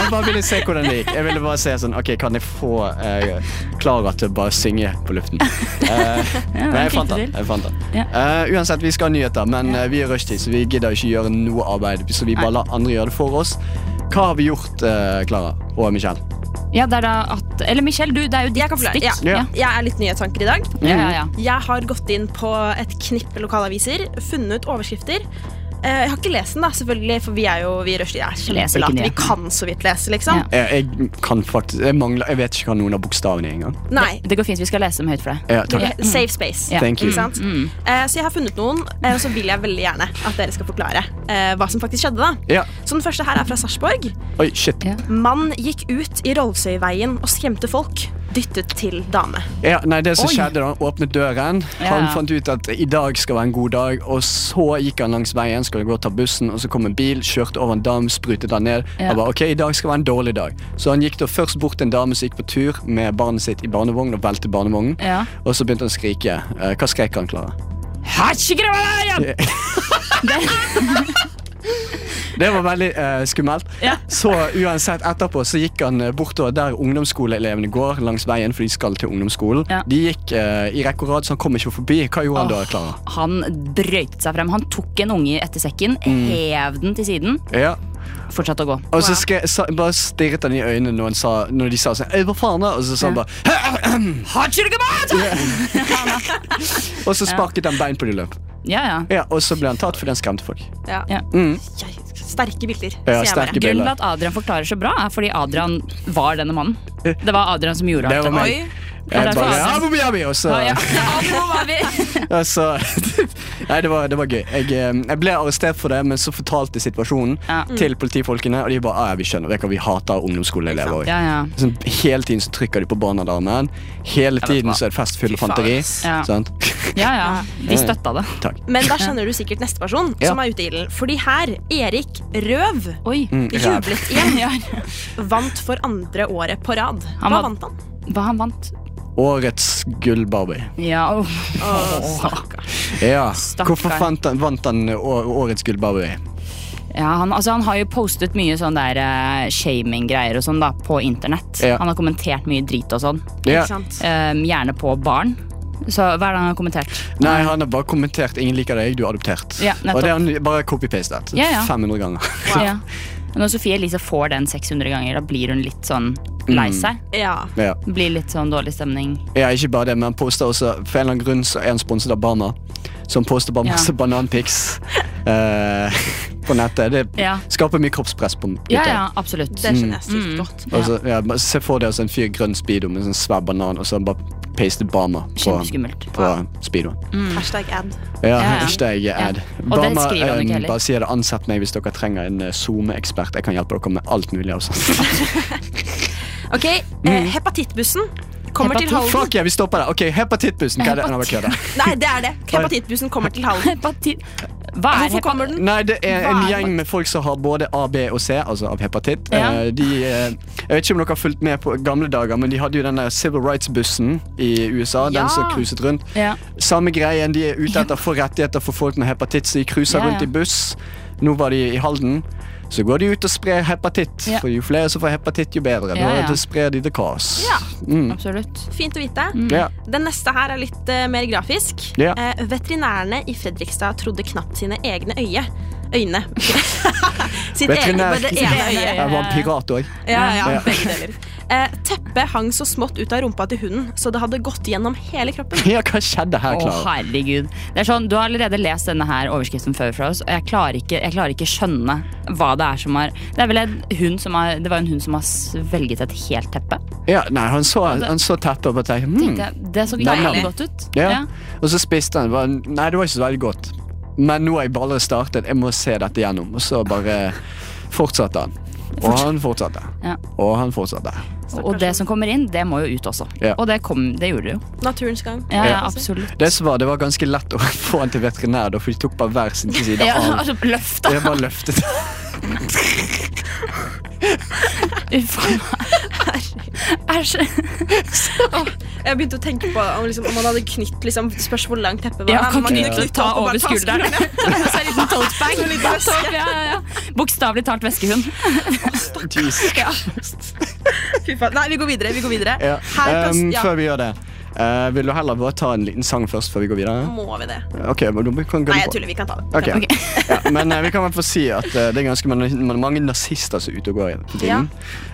Jeg bare ville se hvordan det gikk. Jeg ville bare se sånn, ok, Kan jeg få eh, Klara til å bare synge på luften? Eh, men jeg fant den. Jeg fant den. Ja. Eh, uansett, vi skal ha nyheter, men eh, vi er rushtid, så vi gidder ikke gjøre noe arbeid. Så vi bare lar andre gjøre det for oss. Hva har vi gjort, eh, Klara og Michelle? Ja, det er da at Eller Michelle, du, det er jo Jeg ditt kan forklare. stikk. Ja. Ja. Mm. Jeg er litt nyhetsanker i dag. Ja, ja, ja. Jeg har gått inn på et knippe lokalaviser, funnet ut overskrifter. Eh, Jeg har ikke lest den, da, selvfølgelig, for vi er jo vi i rushtid er Leser ikke kjempelate. Vi nyhetene. kan så vidt lese, liksom. Ja. Eh, jeg kan faktisk Jeg mangler Jeg vet ikke hva noen av bokstavene er engang. Nei. Det går fint, vi skal lese dem høyt for deg. Ja, takk. Eh, Safe space. Ja. Mm, Thank you. Ikke sant? Eh, Så jeg har funnet noen, eh, og så vil jeg veldig gjerne at dere skal forklare eh, hva som faktisk skjedde. da. Ja. Så den første her er fra Sarpsborg. Oi, shit. Ja. Mann gikk ut i Rollsøyveien og skremte folk. dyttet til dame. Ja, nei, det som skjedde da, han åpnet døren. Han Ja. fant ut at i dag skal være en god dag, og så gikk han langs veien, skulle gå og ta bussen, og så kom en bil, kjørte over en dam, sprutet han ned. Ja. Han bare, ok, i dag skal være en dårlig dag. Så han gikk da først bort til en dame som gikk på tur med barnet sitt i barnevogn, og velte barnevognen. Ja. Og så begynte han å skrike. Eh, Hva skrek han, Klara? Hatsikreveien! Det var veldig eh, skummelt. Ja. Så uansett, etterpå så gikk han eh, bortover der ungdomsskoleelevene går, langs veien, for de skal til ungdomsskolen. Ja. De gikk eh, i rekke og rad, så han kom ikke forbi. Hva gjorde han da, Klara? Han brøytet seg frem. Han tok en unge etter sekken, Mm. hev den til siden, Ja. fortsatte å gå. Og så skre, sa, bare stirret han i øynene når, han sa, når de sa sånn «Øy, Hva faen da? Og så sa han bare «Hæ?» Hatsikreveien! *laughs* Og så sparket han bein på de løp. Ja, ja. Ja, og så ble han tatt fordi han skremte folk. Ja. Ja. Mm. Jeg, sterke Ja, bilder. sier jeg bare. sterke Grunnen til bilder. at Adrian forklarer så bra, er fordi Adrian var denne mannen. Det var Adrian som gjorde Det var alt. meg. Jeg derfor bare, han- «Abu Dhabi», og så, Ja, ja. Nå var vi *laughs* og så- *laughs* Nei, det var, det var gøy. Jeg, eh, jeg ble arrestert for det, men så fortalte jeg situasjonen Ja. til politifolkene, og de bare «Ah, ja, vi skjønner. Vet du hva, vi hater ungdomsskoleelever òg. Ja, ja. Sånn, hele tiden så trykker de på barnealarmen. Hele tiden så er det fest, fyll og fanteri. Ja. Sant? *laughs* ja, ja. De støtta det. Takk. Men da skjønner du sikkert neste person Ja. som er ute i ilden. Fordi her, Erik Røv, Oi. Ræv. jublet igjen. Vant for andre året på rad. Han Hva var- vant han? Hva han vant? Årets gull-Barbie. Ja, åh. Ja, Stakkar. Hvorfor fant han, vant han å- årets gullbarbie? ja han, altså, han har jo postet mye sånn der eh, shaming-greier og sånn da, på internett. Ja. Han har kommentert mye drit og sånn. Ikke sant? Eh, gjerne på barn. Så hva er det han har kommentert? Nei, han har bare kommentert 'ingen liker deg, du er adoptert'. Ja, nettopp. og det har han bare copy-pastet Ja, ja. 500 ganger. Ja. Men Når Sofie Elise får den 600 ganger, da blir hun litt sånn lei seg. Ja. Ja. Blir litt sånn dårlig stemning. ja, ikke bare det, men han poster også For en eller annen grunn så er han sponset av Barna, som poster bare Ja. *laughs* masse bananpics eh, på nettet. Det Ja. skaper mye kroppspress på gutter. Ja, ja, absolutt. Det skjønner jeg Mm. sykt godt. Og så, ja, bare se for deg altså, en fyr i grønn speedo med en sånn svær banan, og så bare paste Bama på, Kjempeskummelt. på speedoen. Mm. Hashtag ad. Ja, ja. hashtag Ja. ad. Og det skriver han ikke eh, heller. bare sier det. Ansett meg hvis dere trenger en eh, SoMe-ekspert. Jeg kan hjelpe dere med alt mulig. *laughs* Altså. Ok, Mm. eh, Hepatittbussen kommer Hepatit- til Halden. Fuck, ja, vi stopper der. Ok, Hepatittbussen. Hva er det? Nei, bare kødder. Nei, det er det. Hepatittbussen kommer til *laughs* Halden. Hepati- Hva er Hvorfor hepa- kommer den? Nei, det er en Hva er- gjeng med folk som har både A, B og C, altså av hepatitt. Ja. Eh, De, eh, jeg vet ikke om dere har fulgt med på gamle dager, men de hadde jo den der Civil Rights-bussen i USA. Ja. Den som cruiset rundt. Ja. Samme greien, de er ute etter å få rettigheter for folk med hepatitt, så de cruiser Ja, ja. rundt i buss. Nå var de i Halden. Så går de ut og sprer hepatitt, Ja. for jo flere som får hepatitt, jo bedre. Ja, ja. Da sprer de the cause. Ja. Mm. Absolutt. Fint å vite. Mm. Ja. Den neste her er litt eh, mer grafisk. Ja. Eh, veterinærene i Fredrikstad trodde knapt sine egne øye. øyne. *laughs* Sitt Veterinær- eget, bare det ene øyet. Jeg var en pirat òg. Ja, ja, Ja. begge deler. Eh, teppet hang så smått ut av rumpa til hunden, så det hadde gått gjennom hele kroppen. *laughs* Ja, hva skjedde her, Å, Klara? herregud. Det er sånn, du har allerede lest denne her overskriften før fra oss, og jeg klarer ikke, jeg klarer ikke skjønne hva det er som har Det er vel en hund som har Det var en hund som har svelget et helt teppe. ja, nei, han så, Altså- han så teppet og bare tenkte hmm. Det, det så Nam, nam. jævlig godt ut. ja. Og så spiste han. Bare, nei, det var ikke så veldig godt. Men nå har jeg bare startet. Jeg må se dette gjennom. Og så bare fortsatte han. Og han fortsatte. Ja. Og han fortsatte. Og det som kommer inn, det må jo ut også. Ja. Og det, kom, det gjorde det jo. Naturens gang. Ja, ja, Altså. absolutt. Det som var, det var ganske lett å *laughs* få han til veterinær, da, for de tok bare hver sin side Ja, av. *laughs* altså, løft, Og da! Jeg bare løftet. Uff a meg. Æsj. Jeg begynte å tenke på om, liksom, om man hadde knytt liksom, Spørs hvor langt teppet var. Ja, da, kan men man ikke du kunne knytte ta opp og over bare ta skulderen? *laughs* Så en liten tote *laughs* bag. *laughs* Tote, ja, ja, ja. Bokstavelig talt veskehund. Jesus. Fy faen. Nei, vi går videre. Vi går videre. Ja. Her plass, Um, Ehm, ja, Før vi gjør det, eh, vil du heller bare ta en liten sang først før vi går videre? må vi det? Ok, men du kan gå Nei, på. jeg tuller. Vi kan ta det. Ok. ja, men eh, vi kan i hvert fall si at eh, det er ganske mange, mange nazister som er ute og går for tiden.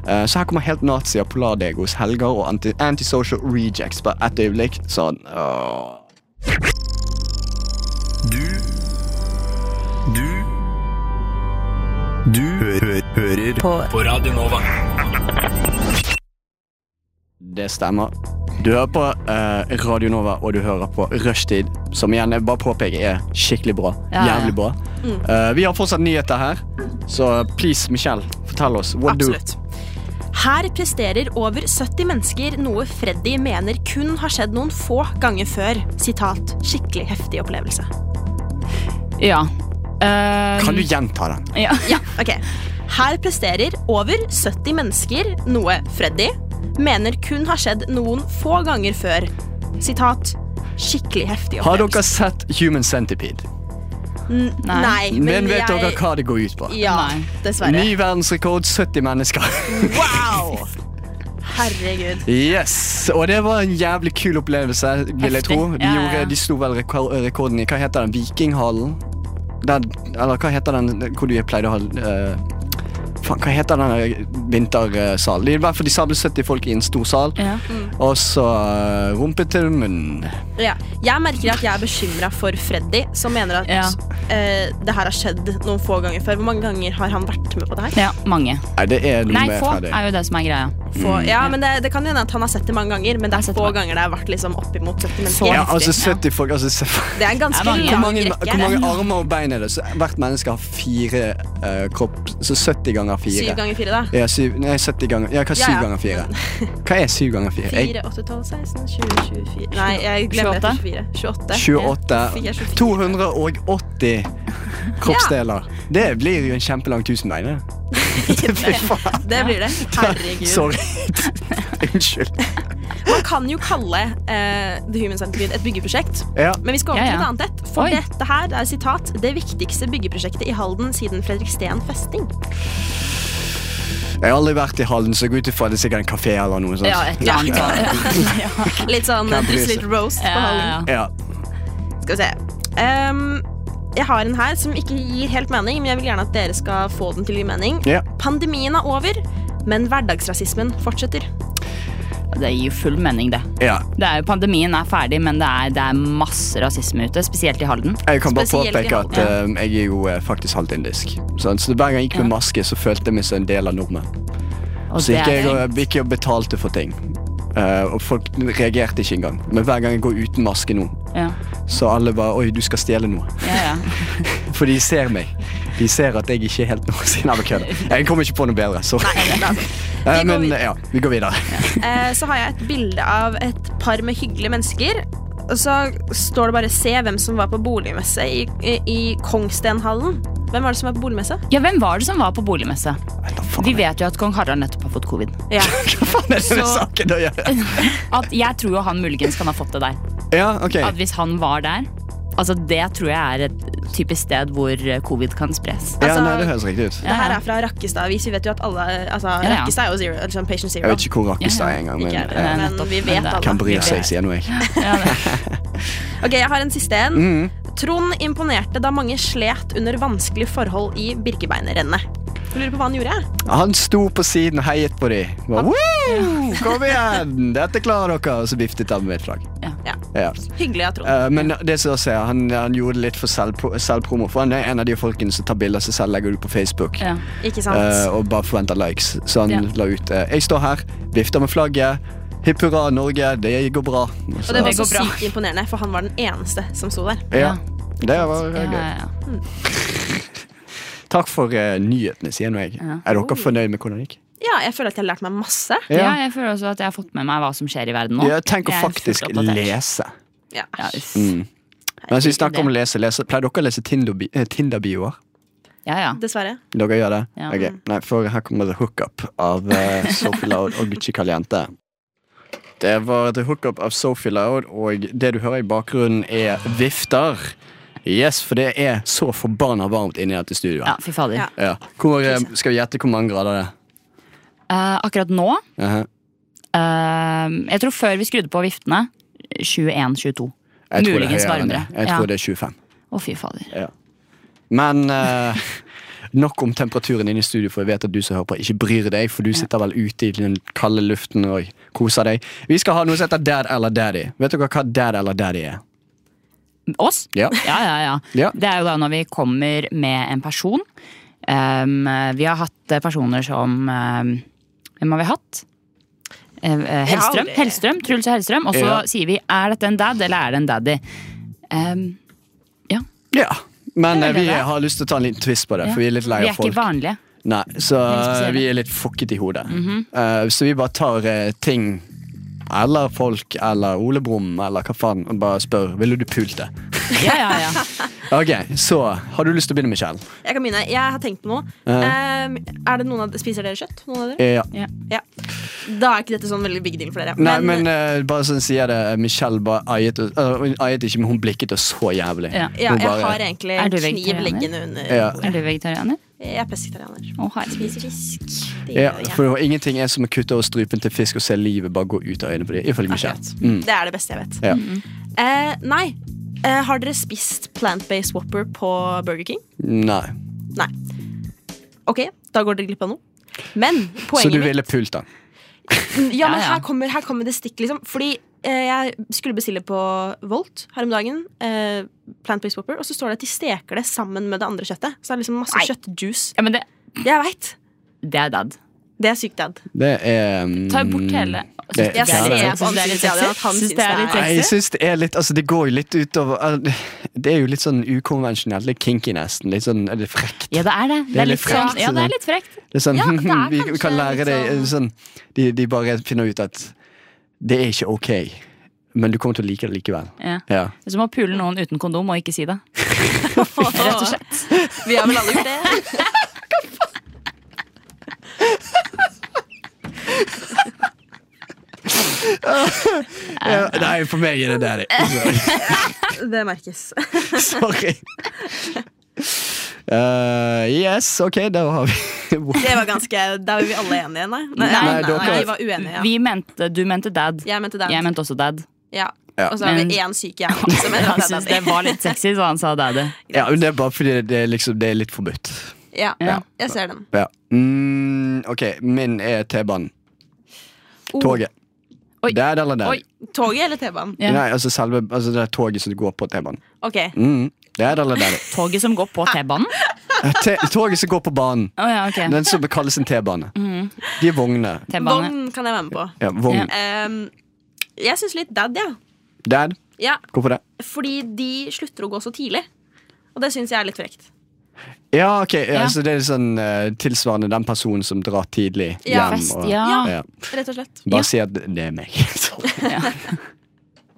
Eh, så her kommer helt nazier, polardegos, helger og anti antisocial rejects. Bare ett øyeblikk sånn åh. Du Du Du hø hø hører på. Radio Nova. Det stemmer. Du hører på eh, Radio Nova, og du hører på Rushtid, som igjen jeg bare påpeker er skikkelig bra. Ja, ja. Jævlig bra. Eh, vi har fortsatt nyheter her, så please, Michelle, fortell oss. What do? Absolutt. Her presterer over 70 mennesker noe Freddy mener kun har skjedd noen få ganger før. Sitat, skikkelig heftig opplevelse. Ja. Eh, Kan du gjenta den? ja. Ja, ok. Her presterer over 70 mennesker noe Freddy mener kun har skjedd noen få ganger før. Sitat, skikkelig heftig Har opplevelse. dere sett Human Centipede? Nei, Men men, vet jeg... dere hva det går ut på? Ja, *laughs* Nei. dessverre. Ny verdensrekord 70 mennesker. Wow! Herregud. Yes, Og det var en jævlig kul opplevelse. vil jeg Heftig. tro De, Ja, ja, ja. gjorde, de slo vel rekor rekorden i Hva heter den? Vikinghallen? Den, eller hva heter den hvor du pleide å ha eh, Faen, hva heter den vintersalen? I hvert fall De samlet 70 folk i en stor sal, Ja. og så eh, rumpe til munn. Ja. Jeg merker at jeg er bekymra for Freddy, som mener at Ja. eh, det her har skjedd noen få ganger før. Hvor mange ganger har han vært med på det her? ja, mange. Nei, det er noe Nei, med få fra det. er jo det som er greia. Få, ja, men det, det kan hende at han har sett det mange ganger, men Mm. det har er sett få det mange- ganger det har vært liksom oppimot 70 mennesker. Ja, heftig, altså ja. 70 folk altså, se- Det er en ganske Det er mange. hvor lang mange, rekke. hvor mange armer og bein er det? Så hvert menneske har fire eh, kropp Så 70 ganger fire. Syv ganger fire, da. Ja, syv, nei, 70 ganger Ja, hva er Ja, syv ja. ganger fire? Hva er syv ganger fire? Jeg, Fire, åtte, tolv, 16, 20, 24 Nei, jeg glemmer 28. 24. 28. 28 Ja, 24. 280 kroppsdeler. Det blir jo en kjempelang tusenbein. det. Fy faen. *laughs* Det blir det. *laughs* Herregud. Sorry. *laughs* Unnskyld. Man kan jo kalle eh, The Human Centipede et byggeprosjekt. Ja. Men vi skal over Ja, til et ja. annet et. For Oi. dette her er sitat det viktigste byggeprosjektet i Halden siden Fredriksten festning. Jeg har aldri vært i Hallen, så jeg går ut ifra det er sikkert en kafé eller noe sånt. Ja, et eller annet. Litt sånn Kan bli Driss så. Little Roast på Ja, Halden. ja, Ja. Skal vi se. Ehm, jeg har en her som ikke gir helt mening, men jeg vil gjerne at dere skal få den til å gi mening. Ja. Pandemien er over, men hverdagsrasismen fortsetter. ja. Det gir jo full mening, det. ja. det er jo, pandemien er ferdig, men det er, det er masse rasisme ute, spesielt i Halden. Jeg kan bare Spesielt i påpeke at Halden. eh, jeg er jo eh, faktisk halvt indisk. Sånn, Så hver gang jeg gikk med maske, så følte jeg meg som en del av nordmenn. Og Så det gikk jeg er, og, gikk jeg og betalte for ting. Eh, og folk reagerte ikke engang. Men hver gang jeg går uten maske nå, ja, så alle bare Oi, du skal stjele noe. *laughs* ja, ja. For de ser meg. De ser at jeg ikke er helt noe siden av kødda. Jeg kommer ikke på noe bedre. Sorry. Eh, Vi går men videre. ja, vi går videre. Eh, så har jeg et bilde av et par med hyggelige mennesker. Og så står det bare 'se hvem som var på boligmesse i, i, i Kongstenhallen'. Hvem var det som var på boligmesse? ja, hvem var det som var på boligmesse? Nei, da faen Vi er det- vet jo at kong Harald nettopp har fått covid. Ja. *laughs* Hva faen er det med Så- saken å gjøre? At jeg tror jo han muligens kan ha fått det der. Ja, ok. At hvis han var der Altså Det tror jeg er et typisk sted hvor covid kan spres. Ja, altså- nei, det høres riktig ut. *laughs* Det her er fra Rakkestad avis. Vi vet jo at alle altså, Ja, ja. Rakkestad er jo zero, liksom patient zero. Jeg vet ikke hvor Rakkestad Ja, er engang, men Ikke jeg eh, Nei, heller, men nettopp, vi men vet det- alle. kan bry Vi seg, vet. sier nå jeg. Ja, det- Ok, Jeg har en siste en. Mm. Trond imponerte da mange slet under vanskelige forhold i Birkebeinerrennet. Jeg Lurer på hva han gjorde? Han sto på siden og heiet på dem. Woo! Kom igjen! Dette klarer dere! Og så viftet han med et flagg. Ja. Ja. Hyggelig av Trond. Eh, men det som også er, han, han gjorde det litt for selvpro selvpromo, for han er en av de folkene som tar bilder av seg selv legger ut på Facebook. ja. Ikke sant? eh, og bare forventer likes. Så han Ja. la ut eh, 'Jeg står her, vifter med flagget. Hipp hurra, Norge. Det går bra'. Og og det var det så går bra. sykt imponerende, for han var den eneste som sto der. ja. Det var eh, Ja, gøy. ja, ja. Takk for eh, nyhetene, sier nå jeg. Ja. Er dere fornøyd med hvordan det gikk? Ja, jeg føler at jeg har lært meg masse. ja, jeg føler også at jeg har fått med meg hva som skjer i verden nå. Ja, tenk å Jeg er fullt faktisk oppdatert. lese. Mm. Ja. Ja, uff. Mens vi snakker om å lese, lese Pleier dere å lese Tinder-bi- eh, Tinder-bioer? ja, ja. Dessverre. Dere gjør det? Ja. Ok, Nei, for her kommer The Hookup *laughs* av eh, Sophie Loud og Gucci Caliente. Det var The Hookup av Sophie Loud, og det du hører i bakgrunnen, er vifter. Yes, for det er så forbanna varmt inni dette ja, studioet. fy fader. Ja. Ja. Hvor, eh, skal vi gjette hvor mange grader det er? Eh, akkurat nå Aha. eh, Jeg tror før vi skrudde på viftene 21-22. Jeg tror det er Muligens høyere enn det. varmere. Jeg tror Ja. det er 25. Å, fy fader. Men eh, nok om temperaturen inne i studio, for jeg vet at du som hører på, ikke bryr deg, for du sitter vel ute i den kalde luften og koser deg. Vi skal ha noe som heter Dad eller Daddy. Vet dere hva Dad eller Daddy er? Oss? Ja. Ja, ja, ja. Ja. Det er jo da når vi kommer med en person. Um, vi har hatt eh, personer som um, Hvem har vi hatt? Eh, eh, Hellstrøm. aldri- Hellstrøm, Truls og Hellstrøm. Og så Ja. sier vi er dette en dad eller er det en daddy? Um, Ja. Men Det er eh, vi det. eh, har lyst til å ta en liten twist på det, ja. for vi er litt lei Vi er av ikke folk. *laughs* vanlige. Nei, Det så er litt spesielt. Mhm. vi er litt fokket i hodet. Eh, så vi bare tar eh, ting eller folk eller Ole Brumm eller hva faen, og bare spør ville du pult det. Ja, ja, ja. Ok, Så har du lyst til å begynne, Michelle? Jeg kan begynne. Jeg har tenkt på noe. Ehm, er det noen av, spiser dere kjøtt? Noen av dere? Eh, ja. Da er ikke dette sånn veldig big deal for dere. Nei, men, eh, bare sånn sier jeg det. Michelle bare eiet og- eh, Hun eiet ikke, men hun blikket oss så jævlig. Ja. ja, Hun jeg eh, bare- har egentlig Er du kniv vegetarianer? liggende under Ja. bordet. Er du vegetarianer? Jeg er pescetarianer. Å, herregud. Spiser fisk. Det Ja, gjør jeg. for ingenting er som å kutte over strupen til fisk og se livet bare gå ut av øynene på dem. Ifølge Michelle. Akkurat. Mm. Det er det beste jeg vet. Ja. Eh, nei. Eh, har dere spist plant-based whopper på Burger King? Nei. Ok, da går dere glipp av noe. Men Så poenget du mitt ville pult den? Ja, Ja, men ja. Her, kommer, her kommer det stikk, liksom. Fordi eh, jeg skulle bestille på Volt her om dagen. Eh, Plant-based whopper. Og så står det at de steker det sammen med det andre kjøttet. Så det er liksom masse Nei. kjøttjuice. Ja, men det, Jeg veit! det er dad. Det er sykt dad. Det er mm, Ta bort hele. Syns det- du Jeg ser det er- på syns du det er ansiktet litt til Adrian at sexy? Syns det er han syns det litt er- Nei, jeg sexy? syns det er litt Altså, det går jo litt utover eh, Det er jo litt sånn ukonvensjonelt. Litt kinky, nesten. Litt sånn er det frekt. Ja, det er det. Det er litt frekt, sånn, ja, det er litt frekt. Litt sånn Ja, det er *laughs* Vi kanskje kan lære litt deg eh, sånn de, de bare finner ut at det er ikke ok, men du kommer til å like det likevel. Ja. Ja. Det er som å pule noen uten kondom og ikke si det. Rett og slett. Vi har vel alle gjort det. Ja, Eh, nei, for meg er det det det. *laughs* er. Det merkes. Sorry. Eh, yes, ok, da har vi *laughs* Det var ganske, Da var vi alle enige, nei? Nei, Nei, dere- vi var uenige. Ja. Vi mente, du mente dad. Jeg mente dad. Jeg mente også *laughs* dad. Ja. Ja. Og så har Men- vi én syk hjerne som er Han syntes det var litt sexy, så han sa daddy. Ja, men Det er bare fordi det er, liksom, det er litt forbudt. Ja, Ja. jeg ser den. Ja. Mm, ok, min er T-banen. Toget. Oh. Oi. Der eller der. Oi. Toget eller T-banen? Ja. Nei, altså selve altså det er toget som går på T-banen. Ok, Mm. Der eller der. Toget som går på T-banen? T- Toget som går på banen. Å ja, Mm. ok. Den som kalles en T-bane. De er vognene. T-bane. Vogn kan jeg være med på. Ja, vogn. Ehm, jeg syns litt dad, ja. Dad, ja. hvorfor det? Fordi de slutter å gå så tidlig. Og det syns jeg er litt frekt. Ja, ok, ja, Ja. så det er sånn eh, tilsvarende den personen som drar tidlig Ja. hjem. Fest, og- ja. Ja. Rett og slett. Bare si at det er meg. *laughs*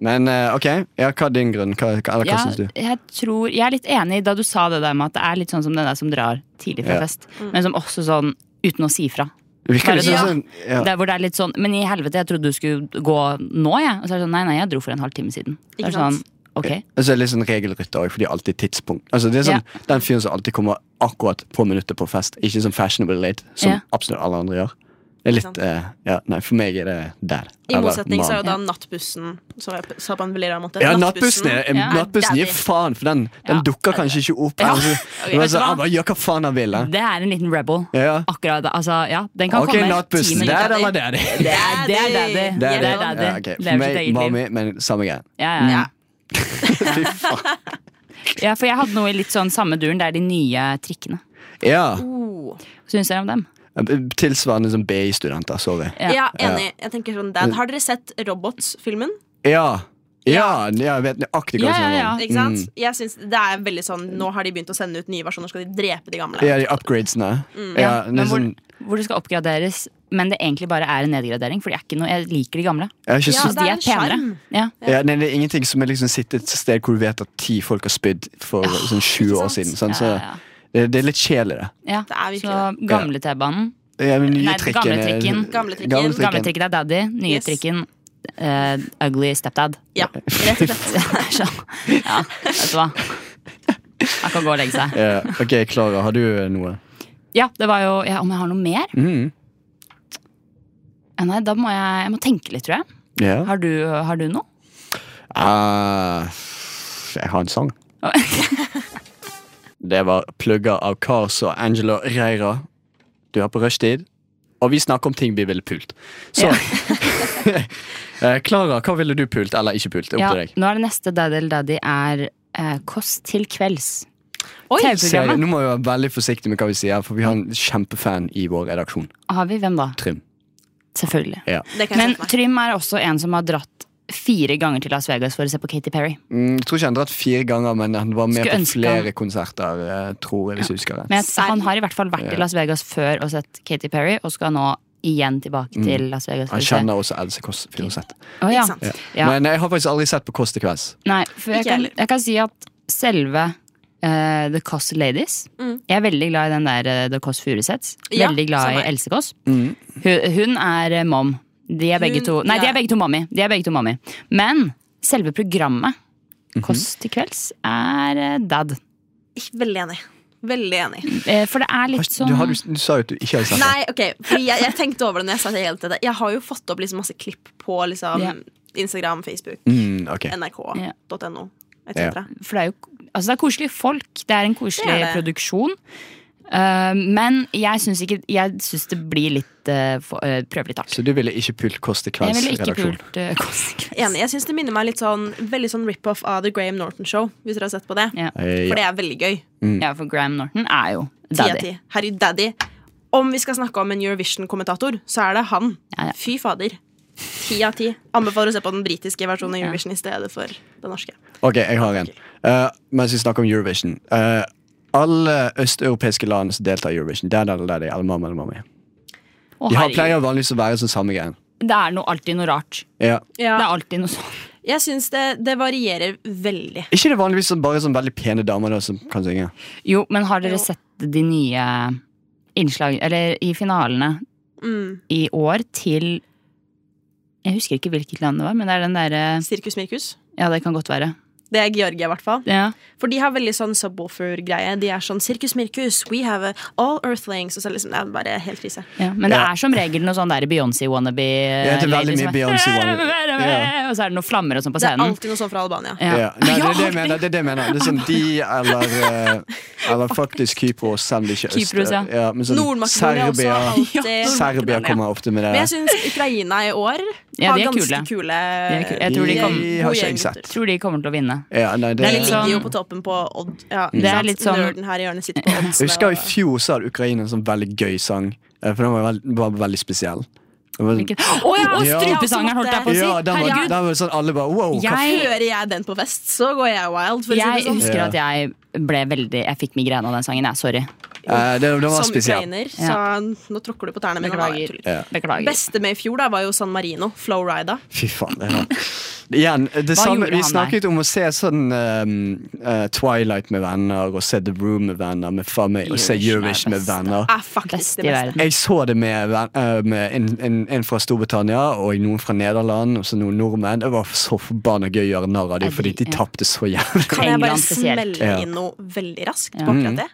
Men eh, ok, ja, hva er din grunn? Hva, hva, eller, hva Ja, syns du? jeg, tror, jeg er litt enig da du sa det der med at det er litt sånn som den der som drar tidlig fra Ja. fest, Mm. men som også sånn uten å si fra. Virker Bare det som så- sånn? Ja. Der hvor det er litt sånn Men i helvete, jeg trodde du skulle gå nå, jeg. Og så er det sånn, nei, nei, jeg dro for en halvtime siden. Det Ikke er sånn, sant? ok. Og så er det litt sånn regelrytter også, for de er alltid tidspunkt. Altså det er sånn, Den fyren som alltid kommer akkurat på minuttet på fest. Ikke sånn fashionable late, som Ja. absolutt absolutt alle andre gjør. Det er Ikke litt, eh, ja, nei, For meg er det der. I motsetning så er jo man. da nattbussen som jeg sa på en veldig rar måte. ja, nattbussen, er, Ja. nattbussen Daddy. gir faen, for den, den Ja. dukker kanskje ikke *laughs* opp. Altså, det var vet du sånn, hva? han bare gjør hva faen han vil. han. Det er en liten rebel. Ja. Akkurat da, altså, ja, Den kan Ok, komme ti nattbussen. minutter Der etter. eller der? Det er det er daddy. Daddy. Det er Daddy. daddy. Ja, ok. For Lever sitt meg, eget liv. mami, men samme greie. Ja, ja. Ja. ja. ja, for jeg hadde noe i litt sånn samme duren. Det er de nye trikkene. Ja. Oh. Hva syns dere om dem? Tilsvarende som BI-studenter. Sorry. Ja. Ja, enig. Jeg tenker sånn dad. Har dere sett Robots-filmen? Ja. Ja, ja, jeg vet nøyaktig hva Mm. Ja, du ja, snakker ja. om. Ikke sant? Jeg synes det er veldig sånn Nå har de begynt å sende ut nye versjoner, skal de drepe de gamle? Ja, de upgradesene. Ja, Mm. Ja, det men er hvor, sånn, hvor det skal oppgraderes, men det egentlig bare er en nedgradering. For de er ikke noe, jeg liker de gamle. jeg har ikke Ja, så, Syns de det er er en penere. sjarm. Ja. ja, nei, det er ingenting som er liksom sittet et sted hvor du vet at ti folk har spydd for sånn 20 år siden. Sånn, så Ja, ja, ja. Det, det er litt kjel i det. Ja. Det er Så virkelig gamle T-banen. Ja, men nye Nei, trikken gamle er- trikken. Gamle trikken. Gamle Gamle trikken. trikken er daddy, nye Yes. trikken eh, ugly stepdad. Ja, rett og *laughs* slett. Så, sånn. ja, vet du hva. Han kan gå og legge seg. Ja, ok, Klara, har du eh, noe? Ja, det var jo ja, Om jeg har noe mer? Mm. Ja, Nei, da må jeg, jeg må tenke litt, tror jeg. Ja. Har du, har du noe? Ah, jeg har en *laughs* sang. Det var plugger av Kars og Angela Reira. Du er på rushtid. Og vi snakker om ting vi ville pult. Så *laughs* Eh, Klara, hva ville du pult eller ikke pult? Det er Ja, Opp til deg. nå er det neste Daddy eller Daddy er eh, Kåss til kvelds. Oi, Serie. TV-programmet. Nå må vi være veldig forsiktige med hva vi sier, for vi har en kjempefan i vår redaksjon. Har vi hvem da? Trym. Selvfølgelig. Det kan jeg Men sette meg. Trym er også en som har dratt fire ganger til Las Vegas for å se på Katy Perry. Mm, jeg tror ikke han har dratt fire ganger, men han var med Skulle på ønske flere konserter. eh, tror jeg, hvis jeg husker rett. Men jeg, han har i hvert fall vært i Las Vegas før og sett Katy Perry, og skal nå igjen tilbake til Las Vegas. for Mm. Han å se. kjenner også Else Kåss Furuseth. Å, ja. Ikke sant? Ja. Men eh, jeg har faktisk aldri sett på Kåss til kvelds. Nei, for jeg Ikke kan, heller. jeg kan si at selve eh, The Kåss Ladies Jeg er veldig glad i den der eh, The Kåss Furuseths. Mm. Ja, veldig glad i samme her. Else Kåss. Mm. Hun, hun er eh, mom. De er begge Hun- to Nei, de ja. er begge to mommy. De er begge to mommy. Men selve programmet Mhm. Kåss til kvelds er eh, dad. Ikke- Veldig enig. Veldig enig. Eh, For det er litt sånn Du, har, du, du sa jo at du ikke hadde sett det. Nei, ok, fordi jeg, jeg tenkte over det når jeg sa at jeg gjeldte det. Jeg har jo fått opp liksom masse klipp på liksom, Ja. Instagram, Facebook, Mm, ok. nrk.no etc. For det er jo altså det er koselige folk. Det er en koselig Det er det. produksjon. Eh, men jeg syns ikke Jeg syns det blir litt eh, for, eh, Prøver litt hardt. Så du ville ikke pult Kåss til Jeg kvelds ville ikke redaksjon? pult eh, *laughs* konsekvens. Enig. Jeg syns det minner meg litt sånn veldig sånn rip-off av The Graham Norton Show, hvis dere har sett på det. Ja. Eh, ja. For det er veldig gøy. Mm. ja, for Graham Norton er jo Ti av daddy. ti. Herre daddy. Om vi skal snakke om en Eurovision-kommentator, så er det han. Ja, ja. Fy fader. Ti av ti. Anbefaler å se på den britiske versjonen av Eurovision i stedet for den norske. Ok, jeg har en. Eh, mens vi snakker om Eurovision. Eh, alle østeuropeiske land som deltar i Eurovision, der, der, der, der, alle mamma, alle mamma. Å, De har herregud. pleier vanligvis å være sånn samme greien. Det er noe, alltid noe rart. Ja. Det er alltid noe sånn. Jeg syns det, det varierer veldig. Ikke det vanligvis sånn, bare sånn veldig pene damer da, som kan synge? Jo, men har Jo. dere sett de nye innslag Eller i finalene Mm. i år til Jeg husker ikke hvilket land det var, men det er den derre Sirkus Mirkus. Ja, det kan godt være. Det er Georgia, i hvert fall. Ja. For de har veldig sånn subwoofer-greie. De er sånn Sirkus Mirkus, we have a, all earthlings. Og så er det liksom, det er bare helt krise. Ja, men det Ja. er som regel noe sånn der Beyoncé-wannabe. Ja, det er veldig mye *laughs* Beyoncé-wannabe. Ja. liksom. Og så er det noen flammer og sånn på Det er scenen. alltid noe sånn fra Albania. Ja. Ja. Nei, det er det jeg mener. Det er det jeg mener. Det er sånn de eller, eh, eller faktisk Kypros, selv om de ikke er øst. Kypros, ja. ja men sånn, Nord-Makedonia også Serbia, alltid. Serbia kommer ofte med Men jeg det. syns Ukraina i år Ja, har de er kule. ganske kule, er kule. Jeg tror de kom- De har gode ikke jeg gjenggutter. sett. Tror de kommer til å vinne. Ja, nei, det, Det er De litt ligger sånn- jo på toppen på Odd. Ja, Det er litt sånn- Nerden her i hjørnet sitter på oddsene. Jeg husker i og- fjor så hadde Ukraina en sånn veldig gøy sang, eh, for den var, veld, var veldig spesiell. Den var, Å ja, og Ja. strupesangeren holdt jeg på å si! ja, den var, Herregud. den var sånn alle bare wow. hva Jeg, Hører jeg den på fest, så går jeg wild. For å si jeg det sånn. husker Ja. at jeg ble veldig Jeg fikk migrene av den sangen. Jeg, sorry. f- eh, det, det var Som spesiell. ukrainer, så nå tråkker du på tærne mine. da. Beklager. Ja. Beklager. Beste med i fjor da var jo San Marino. Flowrida. Fy faen. Det var. Igjen, det samme, gjorde vi han snakket om å se sånn eh, eh, Twilight med venner, og se The Room med venner, med family, og se Eurovision er Eurovision med best, da. venner. Er faktisk Best det i beste. verden. Jeg så det med, ven- eh, med en, en, en fra Storbritannia og noen fra Nederland og så noen nordmenn. Det var så forbanna gøy å gjøre narr av dem, fordi de Ja. tapte så jævlig. *laughs* Kan jeg bare England spesielt. smelle Ja. Mhm. inn noe veldig raskt på akkurat det?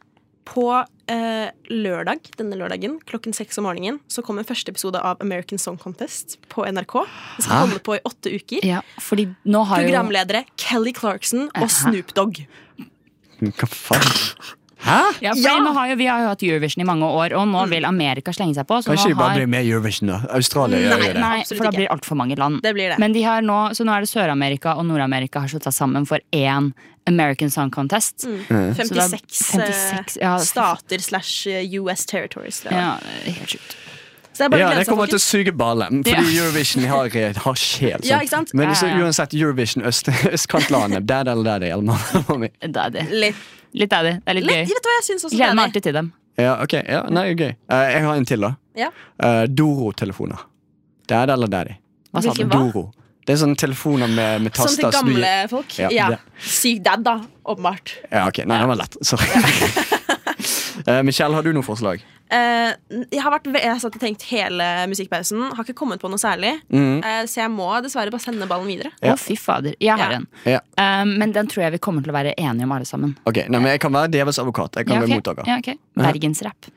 På eh, lørdag, denne lørdagen klokken seks om morgenen så kommer første episode av American Song Contest på NRK. Det skal holde på i åtte uker. Ja, fordi nå har jo Programledere Kelly Clarkson og Snoop Dogg. Hva faen? ja, fordi nå har jo, Vi har jo hatt Eurovision i mange år, og Mm. nå vil Amerika slenge seg på. Så Kan ikke nå de bare har bli med i Eurovision, da? Australia gjør jo det. Nei, Absolutt for da ikke. blir det altfor mange land. Det blir det. Men de har nå, så nå er det Sør-Amerika og Nord-Amerika har slått seg sammen for én American Song Contest. Mm. Så det er 56, eh, 56, ja. stater slash eh, US territories. tror jeg. Ja, helt sjukt. Så det er bare Ja, å det glede seg, kommer til å folkens. suge ballen, fordi Ja. Eurovision har, eh, har sjel. Ja, ikke sant? Men så, Ja, ja, ja. uansett, Eurovision øst, *laughs* østkantlandet, der eller der det gjelder. Daddy. Litt, Litt daddy. Det er litt, litt, gøy. vet du hva jeg syns også? Gleder meg det er alltid til det. dem. Ja, ok. Ja, nei, gøy. Eh, jeg har en til, da. Ja. Eh, Doro-telefoner. Der eller der. Hva sa du? Hvilken- Hva? Doro. Det er sånne telefoner med, med Sånn taster. til så du- gamle folk. Ja, Ja, det. Syk dad, da. Åpenbart. Ja, ok. Nei, den var lett. Sorry. *laughs* Eh, Michelle, har du noe forslag? Eh, jeg har vært ve- jeg satt og tenkt hele musikkpausen. Har ikke kommet på noe særlig. Mm, Eh, så jeg må dessverre bare sende ballen videre. Å, fy fader. Jeg har Ja. en. Ja. Um, men den tror jeg vi kommer til å være enige om, alle sammen. Ok, nei, men Jeg kan være djevelens advokat. Jeg kan Ja, ok. være mottaker. Ja, ok. Bergensrap.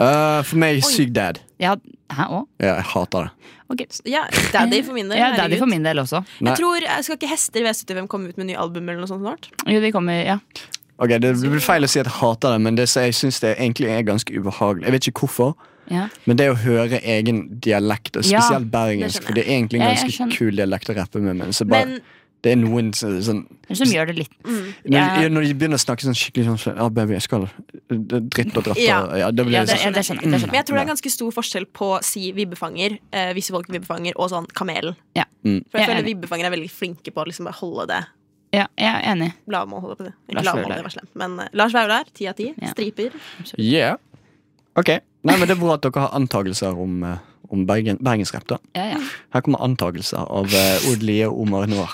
Eh, for meg, syk dad. Ja, hæ òg? Ja, jeg hater det. Ok. *laughs* Ja, Daddy for min del. Ja, daddy herregud. for min del også. Nei. Jeg tror, jeg Skal ikke Hester V75 komme ut med ny album eller noe sånt snart? Jo, de kommer, ja. Ok, Det blir feil å si at jeg hater det, men det, så jeg syns det egentlig er ganske ubehagelig. Jeg vet ikke hvorfor, ja. men det å høre egen dialekt, og Ja, spesielt bergensk, skjønner for det er egentlig en Ja, jeg ganske skjønner. kul dialekt å rappe med, men så bare Men Det er noen så- sånn Eller som gjør det litt når, Ja. når de begynner å snakke sånn skikkelig sånn så, Ja, baby, jeg skal dritt og dratt Ja. og ja, det blir Ja, det, sånn- ja, det skjønner jeg. Det skjønner. Men jeg tror det er ganske stor forskjell på si vibbefanger, eh, visse folk vibbefanger, og sånn kamelen. Ja. Mm. For jeg Jeg er føler enig. vibbefanger er veldig flinke på å liksom bare holde det jeg. Mm. Ja, jeg er enig. lavmål. holder på det. Ikke Lars lavmål, Vaular. det var slemt. Men eh, Lars Vaular, ti av ti. Ja. Striper. Yeah. Ok. Nei, men Det er bra at dere har antakelser om, eh, om Bergen, bergensrap. da. Ja, ja. Her kommer antakelser av uh, Odlie Omar Noir.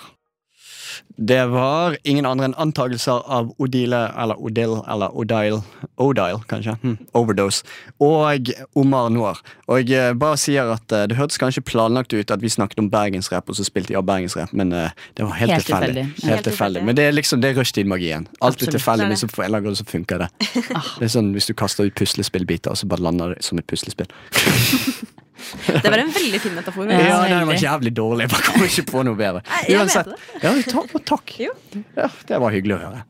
Det var ingen andre enn antakelser av Odile eller Odil eller Odile Odile, kanskje. Hm, overdose. Og Omar Noir. Og jeg eh, bare sier at eh, det hørtes kanskje planlagt ut at vi snakket om bergensrap, og så spilte de av bergensrap, men eh, det var helt, Helt tilfeldig. tilfeldig. Helt tilfeldig. Men det er liksom det er rushtid-magien. Alt Absolutt. Ah. er tilfeldig, Det er men så på en eller annen grunn så funker det. Det er sånn Hvis du kaster ut puslespillbiter, og så bare lander det som et puslespill. Det var en veldig fin metafor. Ja, Ja, den var veldig. jævlig dårlig. Jeg bare kommer ikke på noe bedre. Nei, jeg mente det. ja, takk, og takk. Jo. Ja, det var hyggelig å høre.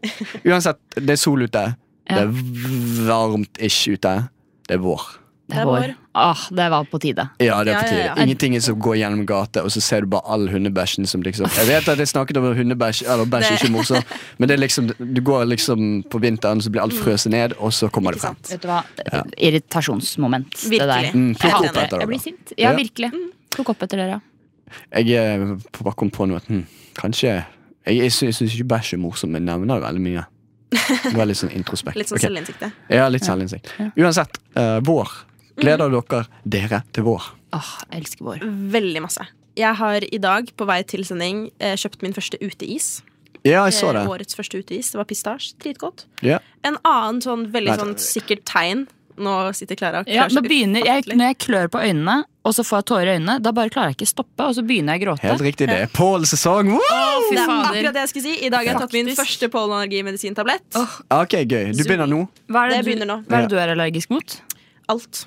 Uansett, det er sol ute. Ja. Det er varmt ikke ute. Det er vår. Det er vår. Åh, Ah, det var på tide. Ja, det er på Ja, ja, tide. ja. Ingenting er som går gjennom gata, og så ser du bare all hundebæsjen som liksom Jeg vet at jeg snakket om hundebæsj, eller bæsj er Det- ikke morsomt, men det er liksom Du går liksom på vinteren, så blir alt frøset ned, og så kommer det frem. Vet du hva? Irritasjonsmoment. Det Virkelig. der. Mm. Mm, plukk Jeg opp hater etter det. Jeg dere. blir sint. Ja, Ja. virkelig. Plukk opp etter dere. Jeg eh, bare kom på noe at hm, kanskje Jeg, jeg syns ikke bæsj er morsomt, men jeg nevner det veldig mye. Det var litt sånn introspekt. *laughs* Litt sånn Ok. selvinnsikt. det. Ja, litt selvinnsikt. Uansett, eh, vår. Gleder dere dere til vår? Åh, Ah, jeg elsker vår. Veldig masse. Jeg har i dag på vei til sending eh, kjøpt min første uteis. Ja, jeg så det. Eh, Årets første uteis. Det var pistasje. Dritgodt. Ja. En annen sånn veldig Nei, sånn sikkert tegn. Nå sitter Klara og Ja, klarer nå seg begynner jeg, ufattelig. Når jeg klør på øynene, og så får jeg tårer i øynene, da bare klarer jeg ikke stoppe, og så begynner jeg å gråte. Helt riktig, det er Pål-sesong! Woo! Å, fy Det er fader. akkurat det jeg skulle si. I dag har jeg tatt min første pollenallergimedisintablett. Ok, gøy. Du begynner nå. Hva er det, Det begynner nå. du, hva er, det du er allergisk mot? Alt.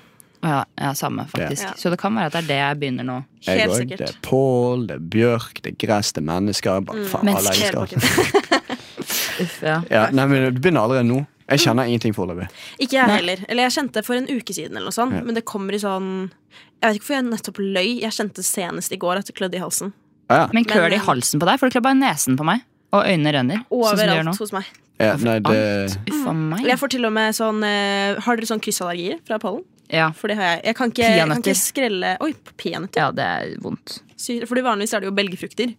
Å Ja, ja, samme, faktisk. Ja. Så det kan være at det er det jeg begynner nå. Jeg Helt går. sikkert. Det er Pål, det er Bjørk, det er gress, det er mennesker. Bare faen, alle Mennesker, egenskaper. *laughs* Uff, ja. Ja, nei, men Du begynner allerede nå. Jeg kjenner ingenting foreløpig. Ikke jeg heller. Eller jeg kjente det for en uke siden, eller noe sånt. Men det kommer i sånn Jeg vet ikke hvorfor jeg nettopp løy. Jeg kjente senest i går at det klødde i halsen. Ah, Ja, ja. Men klør det i Men- halsen på deg? For det klør bare i nesen på meg. Og øynene renner. sånn som det gjør nå. Overalt hos meg. ja, nei, det Alt. Uff a meg. Jeg får til og med sånn eh, Har dere sånn kryssallergier fra pollen? Ja. For det har jeg. Jeg kan ikke, jeg kan Peanøtter. ikke skrelle Oi, peanøtter. ja, det er vondt. Syr- Fordi vanligvis er det jo belgefrukter.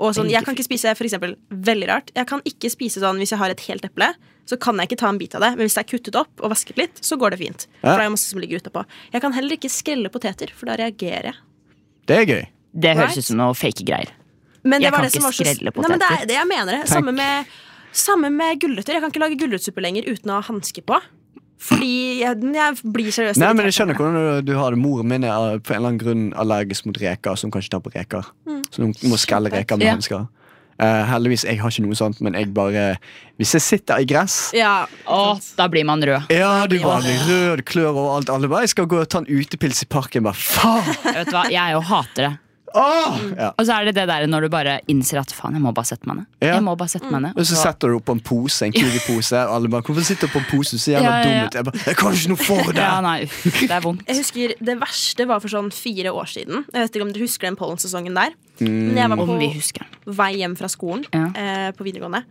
Og sånn, jeg kan ikke spise for eksempel, veldig rart. Jeg kan ikke spise sånn hvis jeg har et helt eple. Så kan jeg ikke ta en bit av det, men hvis det er kuttet opp og vasket litt, så går det fint. For Ja. det er jo masse som ligger utapå. Jeg kan heller ikke skrelle poteter, for da reagerer jeg. Det er gøy. Det høres Right? ut som noe fake greier. Men det Jeg var kan det ikke som var så... skrelle Nei, men det poteter. er det jeg mener. Det. Samme med, samme med gulrøtter. Jeg kan ikke lage gulrøttsuppe lenger uten å ha hanske på. Fordi jeg, jeg blir seriøst Nei, men irritert. jeg skjønner hvordan du, du har det. Moren min er eh, på en eller annen grunn allergisk mot reker, så hun kan ikke ta på reker. Så hun må skrelle reker med Ja. hansker. Eh, heldigvis, jeg har ikke noe sånt, men jeg bare Hvis jeg sitter i gress Ja, Åh, da blir man rød. Ja, du bare blir rød, du klør overalt. Alle bare 'Jeg skal gå og ta en utepils i parken'. Bare faen! *laughs* Vet du hva, Jeg jo hater det. Åh! Ja. Og så er det det der når du bare innser at faen, jeg må bare sette meg ned. Ja. Jeg må bare sette meg ned. Og så setter du opp på en pose, en Kiwi-pose, og alle bare 'Hvorfor sitter du på en pose? Du ser jævla Ja, ja, ja. dum ut.' Jeg bare 'Jeg kan ikke noe for det!' Ja, nei, uff, det er *laughs* vondt. Jeg husker Det verste var for sånn fire år siden. Jeg vet ikke om dere husker den pollensesongen der. Mm, Men jeg var Mm. Om vi på husker den. vei hjem fra skolen Ja. eh, på videregående.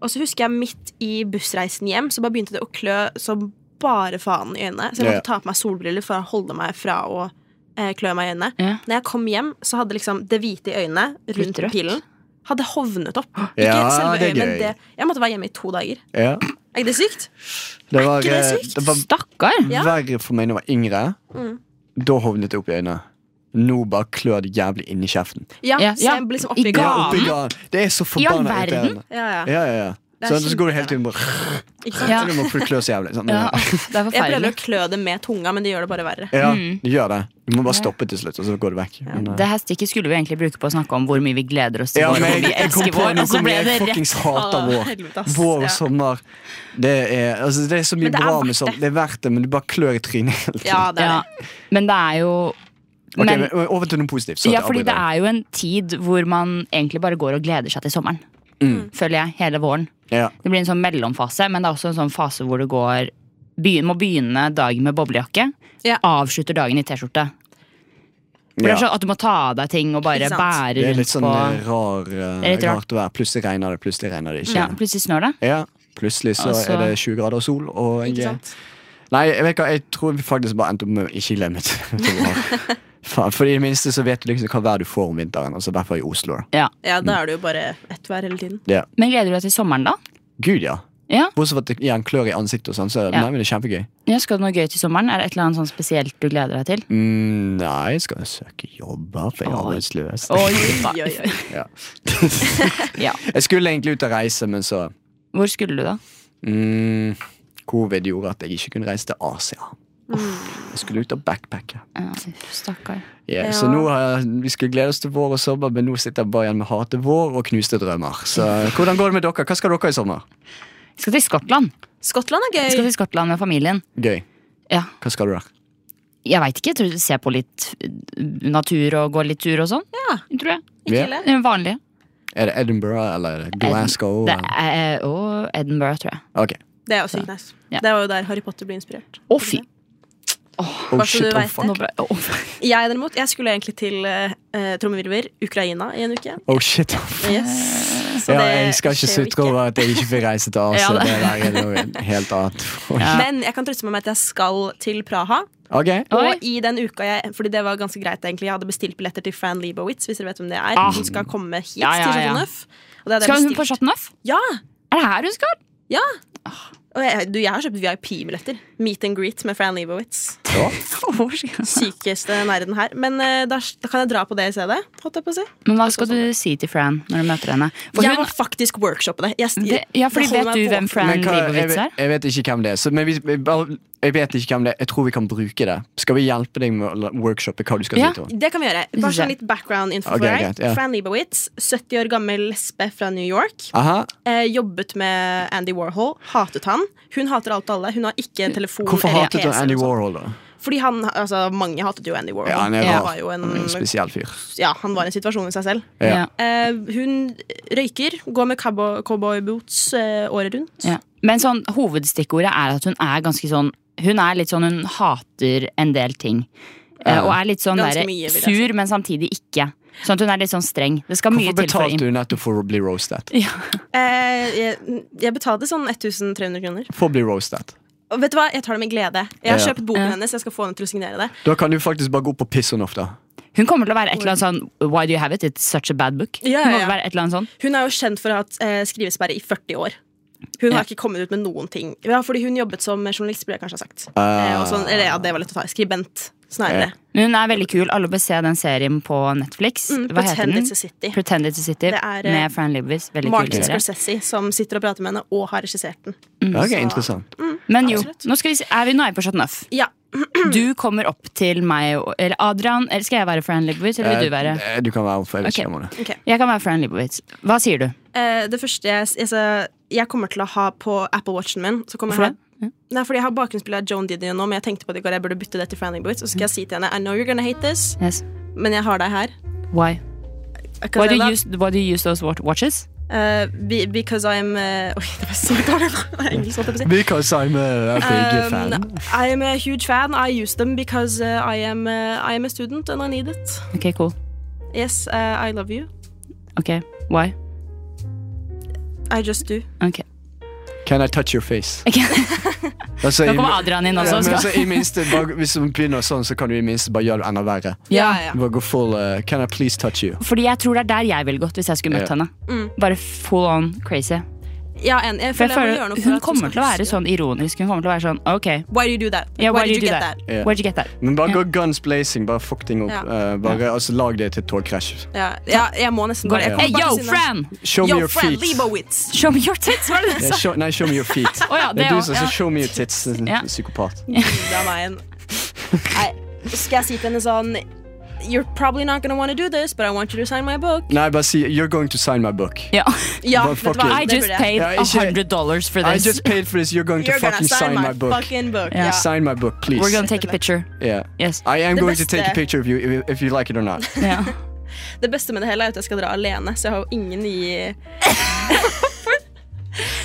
Og så husker jeg midt i bussreisen hjem, så bare begynte det å klø som bare faen i øynene. Så jeg Ja. måtte ta på meg solbriller for å holde meg fra å eh, klø meg i øynene. Ja. Når jeg kom hjem, så hadde liksom det hvite i øynene Litt rundt rødt. pillen hadde hovnet opp. Ikke Ja, selve det er øyet, men gøy. det, jeg måtte være hjemme i to dager. Ja. Er ikke det sykt? Det var, ikke det eh, sykt? det var Stakkar! Ja. verre for meg da jeg var yngre. Mm. Da hovnet det opp i øynene. Nå bare klør det jævlig inni kjeften. Ja, Ja, så ja. jeg ble liksom I oppi Ja, ganen. oppi garn. Det er så I all forbanna verden? irriterende. Ja, ja. Ja, ja, ja. Det er Sånn, så går du hele tiden bare *laughs* Ikke sant? Ja. Du må klø så jævlig. Sånn. Ja, Ja. det er Jeg prøver forferdelig. å klø det med tunga, men det gjør det bare verre. du gjør det. Du må bare stoppe til slutt, og så går du vekk. Men, eh, Mm. Det her stikket skulle vi egentlig bruke på å snakke om hvor mye vi gleder oss til ja, vår, men hvor jeg, vi jeg kom elsker på vår, noe og så som ble det jeg rett fuckings hater Å, vår. helvete, ass. Vår Ja. og sommer. Det er, altså, det er så mye Men det er bra verdt med sånn. det. Det er verdt det, men du bare klør i trynet hele tiden. Ja, det er ja. det. Men det er jo Ok, men- men over til noe positivt. så Ja, at jeg fordi det avbryter. er jo en tid hvor man egentlig bare går og gleder seg til sommeren. Mm. Føler jeg, hele våren. Ja. Det blir en sånn mellomfase, men det er også en sånn fase hvor du går begyn- må begynne dagen med boblejakke, Ja. avslutter dagen i T-skjorte. For det Ja. er sånn at du må ta av deg ting og bare Ikke sant? bære Det er litt rundt sånn på eh, rar, eh, Det er litt rart. rart vær. Plutselig regner det, plutselig regner det ikke. ja, Plutselig snør det. Ja, plutselig så Altså- er det 20 grader og sol. Og Ikke jeg, sant? nei, jeg vet hva, jeg tror vi faktisk bare endte opp med å ikke glemme *laughs* det. Faen, for i det minste så vet du liksom hva vær du får om vinteren. Altså i hvert fall i Oslo. da. Ja, da er det jo bare ett vær hele tiden. Ja. Men gleder du deg til sommeren, da? Gud, ja. Ja. Bortsett fra at det gir en klør i ansiktet og sånn, så Ja. nei, men det er kjempegøy. Ja, Skal du noe gøy til sommeren? Er det et eller annet sånn spesielt du gleder deg til? Mm, nei, skal jeg søke jobber, for jeg er Oi. arbeidsløs. Oi, oi, oi. *laughs* Ja. *laughs* Ja. Jeg skulle egentlig ut og reise, men så Hvor skulle du, da? mm, Covid gjorde at jeg ikke kunne reise til Asia. Jeg skulle ut og backpacke. Ja, Stakkar. Ja, Ja. Så nå har, vi skulle glede oss til vår og sommer, men nå sitter jeg bare igjen med hate vår og knuste drømmer. Så *laughs* hvordan går det med dere? Hva skal dere i sommer? Jeg skal til Skottland. Skottland er Jeg skal til gøy. Skottland med familien. Gøy. Ja. Hva skal du der? Jeg veit ikke. jeg Tror se på litt eh, natur og gå litt tur og sånn. Ja, Tror jeg. ikke Ja. ille. Den vanlige. Er det Edinburgh eller er det Glasgow? Det eller? er, og Edinburgh, tror jeg. Ok. Det er også sykt nice. Ja. Det var jo der Harry Potter ble inspirert. Å, fy. Oh, Bare så shit, du oh, vet fuck. det. Nå ble- å, Jeg derimot, jeg skulle egentlig til eh, eh, trommevirver, Ukraina, i en uke. Oh, shit. Yes. Så Ja, det jeg skal ikke skjer jo sutre over at jeg ikke fikk *laughs* reise til Asia. Ja, det- det der er noe helt annet. Men jeg kan trøste meg med at jeg skal til Praha. Ok. Oi. Og i den uka jeg Fordi det var ganske greit, egentlig. Jeg hadde bestilt billetter til Fran Lebowitz, hvis dere vet hvem det er. Ah. Hun skal komme hit Ja, ja, til ja. Chateau Neuf. Og det hadde jeg Skal hun bestilt. på Chateauneuf? Ja! Er det her hun *laughs* skal? Og jeg, du, jeg har kjøpt VIP-billetter. Meet and greet med Fran Lebowitz. Sykeste nerden her. Men eh, da, da kan jeg dra på det i stedet. Holdt jeg på å si. Men hva skal du si til Fran når du møter henne? For jeg hun, må faktisk workshoppe det. Jeg, det, ja, fordi det holder Vet meg du hvem våken. Fran Men hva- jeg, Leibowitz vet- er? jeg vet ikke hvem det er. Så, men vi, vi bare- jeg vet ikke hvem det er. Jeg tror vi kan bruke det. Skal vi hjelpe deg med å la- workshoppe hva du skal Ja. si til henne? Det kan vi gjøre. synes Bare sånn jeg. litt background info Ok, for deg. greit, ja. Fran Lebowitz, 70 år gammel lesbe fra New York. Aha. Eh, jobbet med Andy Warhol. Hatet han. Hun hater alt og alle. Hun har ikke en telefon. Hvorfor eller hatet PC du eller Andy noe sånt. Warhol, da? Fordi han, altså Mange hatet jo Andy Warhol. Ja, han er Ja. rar. var jo en, Han er en spesiell fyr. ja, han var en situasjon i seg selv. Ja. Ja. Eh, hun røyker, går med cowboy- cowboyboots eh, året rundt. Ja. Men sånn, hovedstikkordet er at hun er ganske sånn Hun er litt sånn, hun hater en del ting. Eh, Og er litt sånn Ganske der, mye, vil jeg si. sur, men samtidig ikke. Sånn at hun er litt sånn streng. Det skal mye til Hvorfor for å betalte inn. du nettopp for å bli roasted? Eh, jeg, jeg betalte sånn 1300 kroner. For å bli roasted. Og vet du hva, jeg tar det med glede. Jeg har Ja. kjøpt boken hennes. Jeg skal få henne til å signere det. Da kan du faktisk bare gå opp og pisse henne off, da. Hun kommer til å være et eller annet sånn Why do you have it? It's such a bad book. Ja, Hun ja, kommer til å ja. være et eller annet sånn Hun er jo kjent for å ha hatt eh, skrivesperre i 40 år. Hun har ikke kommet ut med noen ting. Ja, fordi hun jobbet som journalist, burde jeg kanskje ha sagt. Eh, og sånn, eller ja, det var lett å ta. Skribent, Sånn snarere. Men Hun er veldig kul. Alle bør se den serien på Netflix. Mm, Hva heter Pretend den? It's a City. Pretend It's a City Det er, eh, med Fran Libis. Veldig kul Martin serie. Scorsese, som sitter og prater med henne, og har regissert den. Mm. Ok, så- interessant. Men jo, Absolutt. Mm. nå skal vi se, er vi nå er vi på Chateau Neuf. Ja, Du kommer opp til meg og- Eller Adrian, eller skal jeg være Fran Libowitz? Eller vil du være Eh, Du kan være hvorfor. Jeg vet Ok. ikke hvem hun er. Jeg kan være Fran Libowitz. Hva sier du? eh, det første jeg, jeg, så- jeg kommer til å ha på Apple Watchen min så kommer jeg Hvorfor ha, Nei, fordi jeg har bakgrunnsbilde av Joan Didion nå, men jeg tenkte på det i går, jeg burde bytte det til Fran Boots. Og så skal jeg si til henne I know you're gonna hate this, Yes. men jeg har deg her. Why? Why Because do, you I love- use, why do you use those wat- watches? eh, be- because I'm eh, Oi, det var så dårlig nå. engelsk, holdt jeg på å si. Because I'm a, a big fan. Um, I am a huge fan. I use them because uh, I am uh, I am a student and I need it. Ok, cool. Yes, uh, I love you. Ok, why? I just do. Ok. *laughs* Can I touch your face? Ok. Altså, Nå i- kommer Adrian inn også. Ja, men Skal. så i minste, bare, hvis du begynner sånn, så kan du i minste bare gjøre det enda verre. Ja, ja. Bare gå full eh, Can I please touch you? Fordi jeg tror det er der jeg ville gått hvis jeg skulle møtt Ja. henne. Bare full on crazy. Ja, en, jeg For jeg Mm. føler jeg må gjøre føler noe for Hun at du kommer skal til å være huske. sånn ironisk. Hun kommer til å være sånn ok, Why do you do that? yeah, why did you do get that? Ja. Where'd you get that? Men bare gå guns blazing. Bare fuck ting opp. Ja. eh, bare, altså, lag det til et togkrasj. Ja, ja, jeg må Går nesten bare det, jeg hey, kommer yo, bare til å si noe. Fran! Show me Yo, your Fran feet. Leibowitz! Show me your tits! Var det det Ja, du sa? show, nei, show me your feet. Å ja, det det er du også, som sier ja. show me your tits. eh, Ja. Psykopat. Bilde av meg en. *laughs* Nei, skal jeg si til henne sånn You're probably not gonna wanna do this, but I want you to sign my book. Nei, bare si You're going to sign my book. Ja. Ja, Bare vet du fuck hva, I det just burde jeg. paid Ja, ikke- $100 for I this. just paid for this. You're going You're to gonna fucking sign my book. fucking book. Ja. Ja. Sign my book, please. We're gonna take a picture. yeah. *laughs* Yes. I am Det going to beste- take a picture of you if, if you like it or not. Ja. Det beste med det hele er at jeg skal dra alene, så jeg har jo ingen i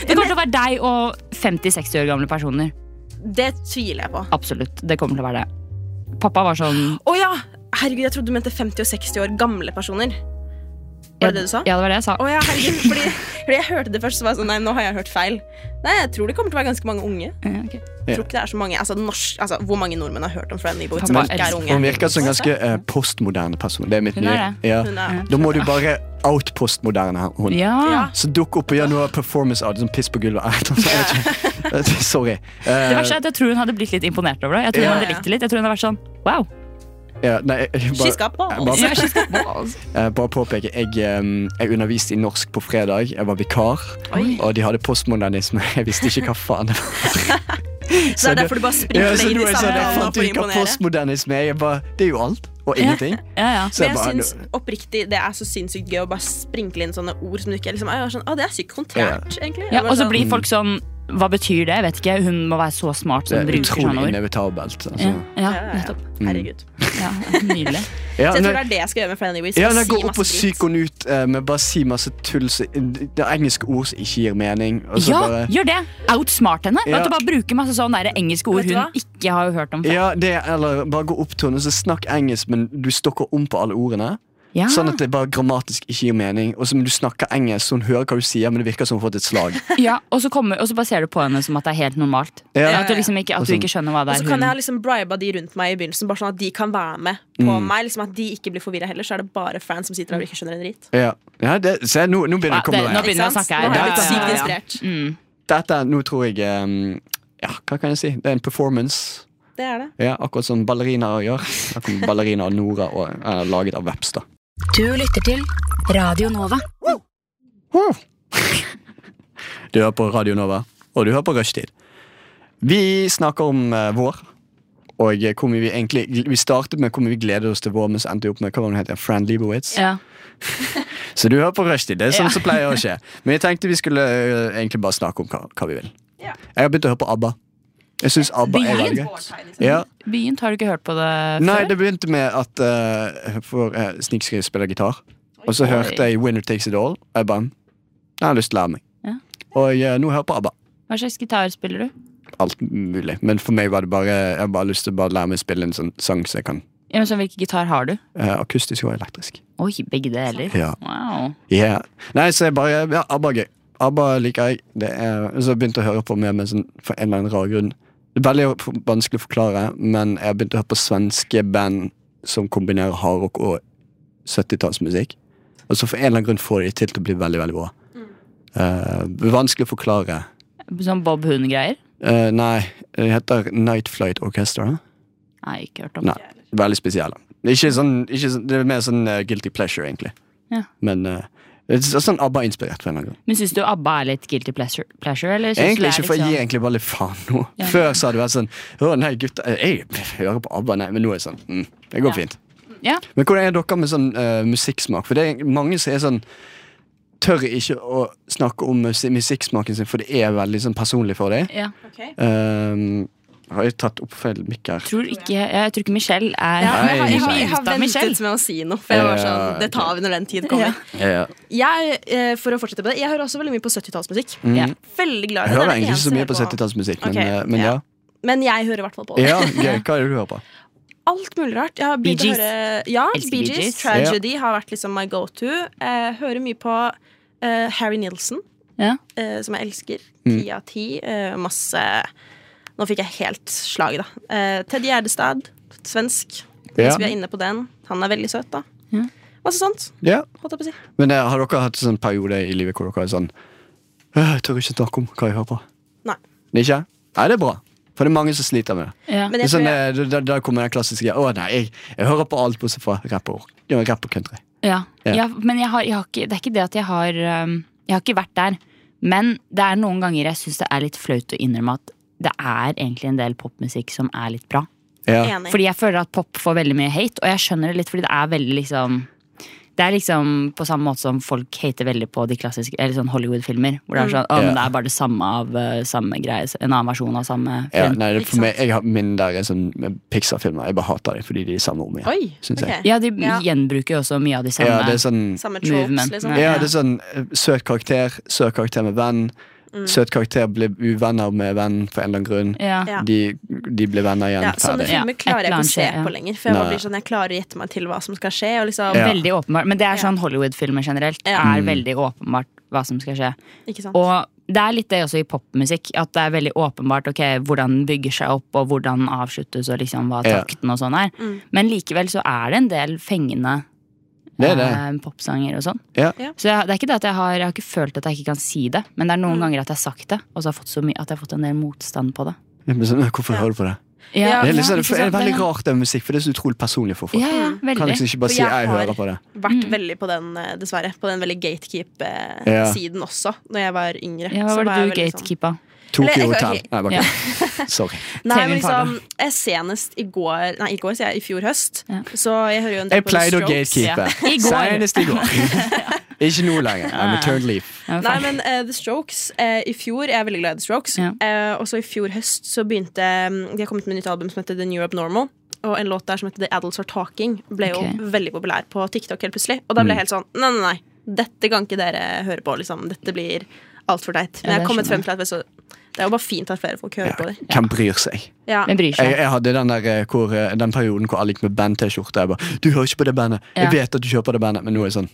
Det kommer til å være deg og 50-60 år gamle personer. Det tviler jeg på. Absolutt. Det kommer til å være det. Pappa var sånn Å ja! Herregud, jeg trodde du mente 50 og 60 år gamle personer. Var det det du sa? Ja, det var det jeg sa. Å ja, herregud, fordi, *laughs* fordi jeg hørte det først, så var jeg sånn Nei, nå har jeg hørt feil. Nei, jeg tror det kommer til å være ganske mange unge. Ja, ok. Jeg tror ikke det er så mange altså, norsk, altså, Hvor mange nordmenn har hørt om Friendly Boat som Pappa ikke elsker- er unge? Hun virker som en ganske eh, postmoderne person. Det er mitt Hun er nye. Ja. Hun er, Da må du bare out-postmoderne her, hun. Ja. Så dukk opp og gjør noe performance out. Sånn piss på gulvet. *laughs* Jeg vet ikke. Sorry. Eh, Det verste er at Jeg tror hun hadde blitt litt imponert over det. Jeg tror Ja. hun hadde likt det litt. Jeg tror hun hadde vært sånn wow. ja, nei, jeg- jeg She's bare, got balls. Bare- Ja, she's got balls. eh, bare påpeke. Jeg, eh, jeg underviste i norsk på fredag. Jeg var vikar. Og de hadde postmodernisme. *laughs* Jeg visste ikke hva faen *laughs* det var. det er derfor du bare Ja, sprinkler så inn nå er de jeg samme sånn, jeg rollene fant for å ut hva imponere. postmodernisme er. Jeg bare, det er jo alt og ingenting. Ja, ja. Så jeg Men jeg bare, syns oppriktig det er så sinnssykt gøy å bare sprinkle inn sånne ord som du ikke er liksom, «Å, jeg er sånn, Å, det er sykt kontrært, egentlig. Jeg Ja, bare og så sånn, blir folk sånn Hva betyr det? Jeg vet ikke. Hun må være så smart det som er bruker sånne utrolig ord. inevitabelt. Ja, Altså. ja, ja, ja, ja. nettopp. Herregud. Ja, nydelig. Ja, Så Mm. nei- jeg tror det er det jeg skal gjøre med Friendly Boat. Ja, nei, si Gå opp og masse dritt. psyk henne ut eh, med bare si masse tull. så- Det er engelske ord som ikke gir mening. Og så Ja, bare, gjør det! Outsmart henne. Ja. At du bare bruker masse sånne der engelske ord Vet du hun hva? ikke har hørt om. før. ja, det, eller bare gå opp til henne og så snakk engelsk, men du stokker om på alle ordene. Ja. Sånn at det bare grammatisk ikke gir mening. Og så må du snakke engelsk, så hun hører hva du sier, men det virker som hun har fått et *laughs* slag. Ja, og, så kommer, og så bare ser du på henne som at det er helt normalt. Ja. At du liksom ikke, at du Og sånn. ikke skjønner hva Og det så er kan hun jeg ha liksom briba de rundt meg i begynnelsen, bare sånn at de kan være med på Mm. meg. liksom At de ikke blir forvirra heller, så er det bare fans som sitter der og ikke skjønner en dritt. Ja. Ja, det, se, nå, nå begynner det å komme Ja, det- noe. nå begynner jeg å Ikke sant? snakke her. Nå har jeg Ja, blitt ja, sykt ja, ja. distrahert. mm. Dette, nå tror jeg eh, Ja, hva kan jeg si? Det er en performance. Det er det. Ja, akkurat som ballerinaer gjør. Akkurat som Ballerina og Nora og, er laget av Vepstad. Du lytter til Radio Nova. *laughs* Du hører på Radio Nova, og du hører på Rushtid. Vi snakker om eh, vår, og eh, hvor mye vi egentlig Vi startet med hvor mye vi gleder oss til vår, men så endte vi opp med hva var det hun heter, Fran Lebowitz. ja. Så du hører på Rushtid. Det er sånn som pleier å skje. Men jeg tenkte vi skulle eh, egentlig bare snakke om hva, hva vi vil. Ja. Jeg har begynt å høre på ABBA. Jeg syns ABBA er veldig gøy. Ja. Begynt, har du ikke hørt på det før? Nei, det begynte med at eh, For uh, Snikskriv spiller gitar. Og så Oi. hørte jeg Winner Takes It All. Og jeg bare Jeg har lyst til å lære meg. Ja. Og eh, nå hører jeg på ABBA. Hva slags gitar spiller du? alt mulig. Men for meg var det bare Jeg har bare lyst til å bare lære meg å spille en sånn sang som jeg kan. Ja, men så, hvilken gitar har du? eh, akustisk og elektrisk. Oi, begge deler. Ja. Wow. Yeah. Nei, så jeg bare Ja, ABBA er gøy. ABBA liker jeg. Det er, så jeg begynte å høre på mer med sånn, for en eller annen rar grunn. Det er veldig f- vanskelig å forklare, men jeg har begynt å høre på svenske band som kombinerer hardrock og 70-tallsmusikk. Og så for en eller annen grunn får de til til å bli veldig, veldig bra. Eh, vanskelig å forklare. Sånn Bob Hund-greier? Eh, nei, det heter Night Flight Orchestra. Nei, ikke hørt om. Nei, veldig spesielle. Ikke sånn, ikke sånn, det er mer sånn eh, guilty pleasure, egentlig. Ja. Men eh, det er sånn ABBA-inspirert. på en eller annen grunn. Men syns du ABBA er litt guilty pleasure? pleasure eller synes du Egentlig det er ikke, for jeg litt gir sånn- egentlig bare litt faen nå. Ja. Før så hadde det vært sånn Å nei, gutta, jeg hører på ABBA, nei, men nå er det sånn mm, Det går Ja. fint. Ja. Men hvordan er dere med sånn eh, musikksmak? For det er mange som er sånn Tør ikke å snakke om musi- musikksmaken sin, for det er veldig sånn personlig for dem. Ja. Um, har jeg tatt opp feil mikk her? Tror ikke, ja, jeg tror ikke Michelle er Ja, men jeg, har, jeg, har, jeg Michelle. har ventet med å si noe, for jeg var Ja, sånn Det tar vi når den tid kommer. Ja. Jeg, eh, for å fortsette på det, jeg hører også veldig mye på 70-tallsmusikk. Ja. Veldig glad i Mm. Jeg hører det. det er det egentlig ikke eneste så mye jeg på hører 70-tallsmusikk, men, Ok, eh, men ja. ja. Men jeg hører i hvert fall på det. Ja, gøy. Hva er det du hører på? *laughs* Alt mulig rart. Jeg har begynt Bee å Gees. høre Ja, Elsker Bee Bee Gees. Gees. Tragedy har vært liksom my go to. Jeg hører mye på eh, Harry Nilsen, Ja. eh, som jeg elsker. Mm. Ti av ti. eh, masse Nå fikk jeg helt slaget, da. Eh, Teddy Gjerdestad, svensk. Ja. Hvis vi er inne på den. Han er veldig søt, da. Ja. Masse sånt. Ja. Holdt jeg på å si. Men eh, har dere hatt en sånn periode i livet hvor dere er sånn «Øh, Jeg tør ikke snakke om hva jeg hører på. Nei. Det er Ikke? Nei, det er bra. For det er mange som sliter med det. Ja. Men det er jeg sånn, tror jeg, eh, da- da, da kommer den klassiske greia. Å nei, jeg, jeg hører på alt bortsett fra rapp og, ja, rap og country. Ja. Ja. ja, men jeg har, jeg har ikke, det er ikke det at jeg har um, Jeg har ikke vært der. Men det er noen ganger jeg syns det er litt flaut å innrømme at det er egentlig en del popmusikk som er litt bra. Ja. enig. Fordi jeg føler at pop får veldig mye hate, og jeg skjønner det litt fordi det er veldig liksom det er liksom på samme måte som folk hater veldig på de klassiske Eller sånn Hollywood-filmer. Hvor det er sånn, å, Ja. men det er bare det samme av eh, samme greie. En annen versjon av samme Ja, film. nei, det, Ikke for meg, jeg har min der er sånn eh, Pixar-filmer. Jeg bare hater dem fordi de er de samme om igjen. Oi. Synes jeg. ok. Ja, de Ja. gjenbruker jo også mye av de samme. Ja, det er sånn Samme tropes, Movement. liksom. Ja. Ja, det er sånn eh, søt karakter, søt karakter med venn. Søt karakter blir uvenner med vennen for en eller annen grunn. Ja. Mm. Ja. De, de blir venner igjen. Ja, sånn sånne ferdig. Ja, filmer et klarer eller jeg ikke å annet se skjer, ja. på lenger. For jeg, bare Nei. blir sånn, jeg klarer å gjette meg til hva som skal skje. Og liksom, Ja. Mm. Veldig åpenbart. Men det er sånn Hollywood filmer generelt. Ja. Er veldig åpenbart hva som skal skje. ikke sant? Og det er litt det også i popmusikk. At det er veldig åpenbart ok, hvordan den bygger seg opp, og hvordan den avsluttes, og liksom hva Ja. takten og sånn er. Mm. Men likevel så er det en del fengende Det er det. eh, popsanger og sånn. Ja. Ja. Så jeg, det er ikke det at jeg har Jeg har ikke følt at jeg ikke kan si det, men det er noen Mm. ganger at jeg har sagt det, og så har jeg fått så mye at jeg har fått en del motstand på det. Jeg blir sånn, Hvorfor hører du på det? Ja, Det er, liksom, ikke det er sant? veldig rart det er musikk, for det er så utrolig personlig for folk. Ja, ja, Mm. Kan veldig. liksom ikke bare For si jeg 'jeg har- hører på det'. vært Mm. veldig på den, eh, dessverre. På den veldig Ja. gatekeep-siden også, når jeg var yngre. Ja, hva Så var det du jeg veldig sånn- gatekeepa? Eller, Tokyo jeg- Hotel. ok. Nei, bare Ja. kødd. *laughs* Sorry. Nei, men TV-en tar liksom, jeg senest i går Nei, i går, sier jeg. I fjor høst. Ja. Så jeg hører jo en del Jeg på The pleide å Strokes. gatekeepe. I går. Senest *laughs* i går. Ikke nå lenger. I'm a turned leaf. Ja, Nei, faen. men eh, The Strokes eh, I fjor, Jeg er veldig glad i The Strokes. Ja. Eh, og så i fjor høst så begynte mm, De har kommet med et nytt album som heter The New Abnormal. Og en låt der som heter The Adults Are Talking ble Ok. Mm. jo veldig populær på TikTok helt plutselig. Og da ble jeg helt sånn Nei, nei, nei. Dette kan ikke dere høre på. liksom Dette blir altfor teit. Men Ja, jeg det har skjønner kommet frem til at vet du, det er jo bare fint at flere folk hører på det. Hvem bryr seg? Ja. Hvem bryr Jeg, seg? jeg hadde den, der, eh, hvor, eh, den perioden hvor alle gikk med band-T-skjorte. Jeg bare 'Du hører ikke på det bandet. Jeg Ja. vet at du kjøper det bandet.' Men nå er det sånn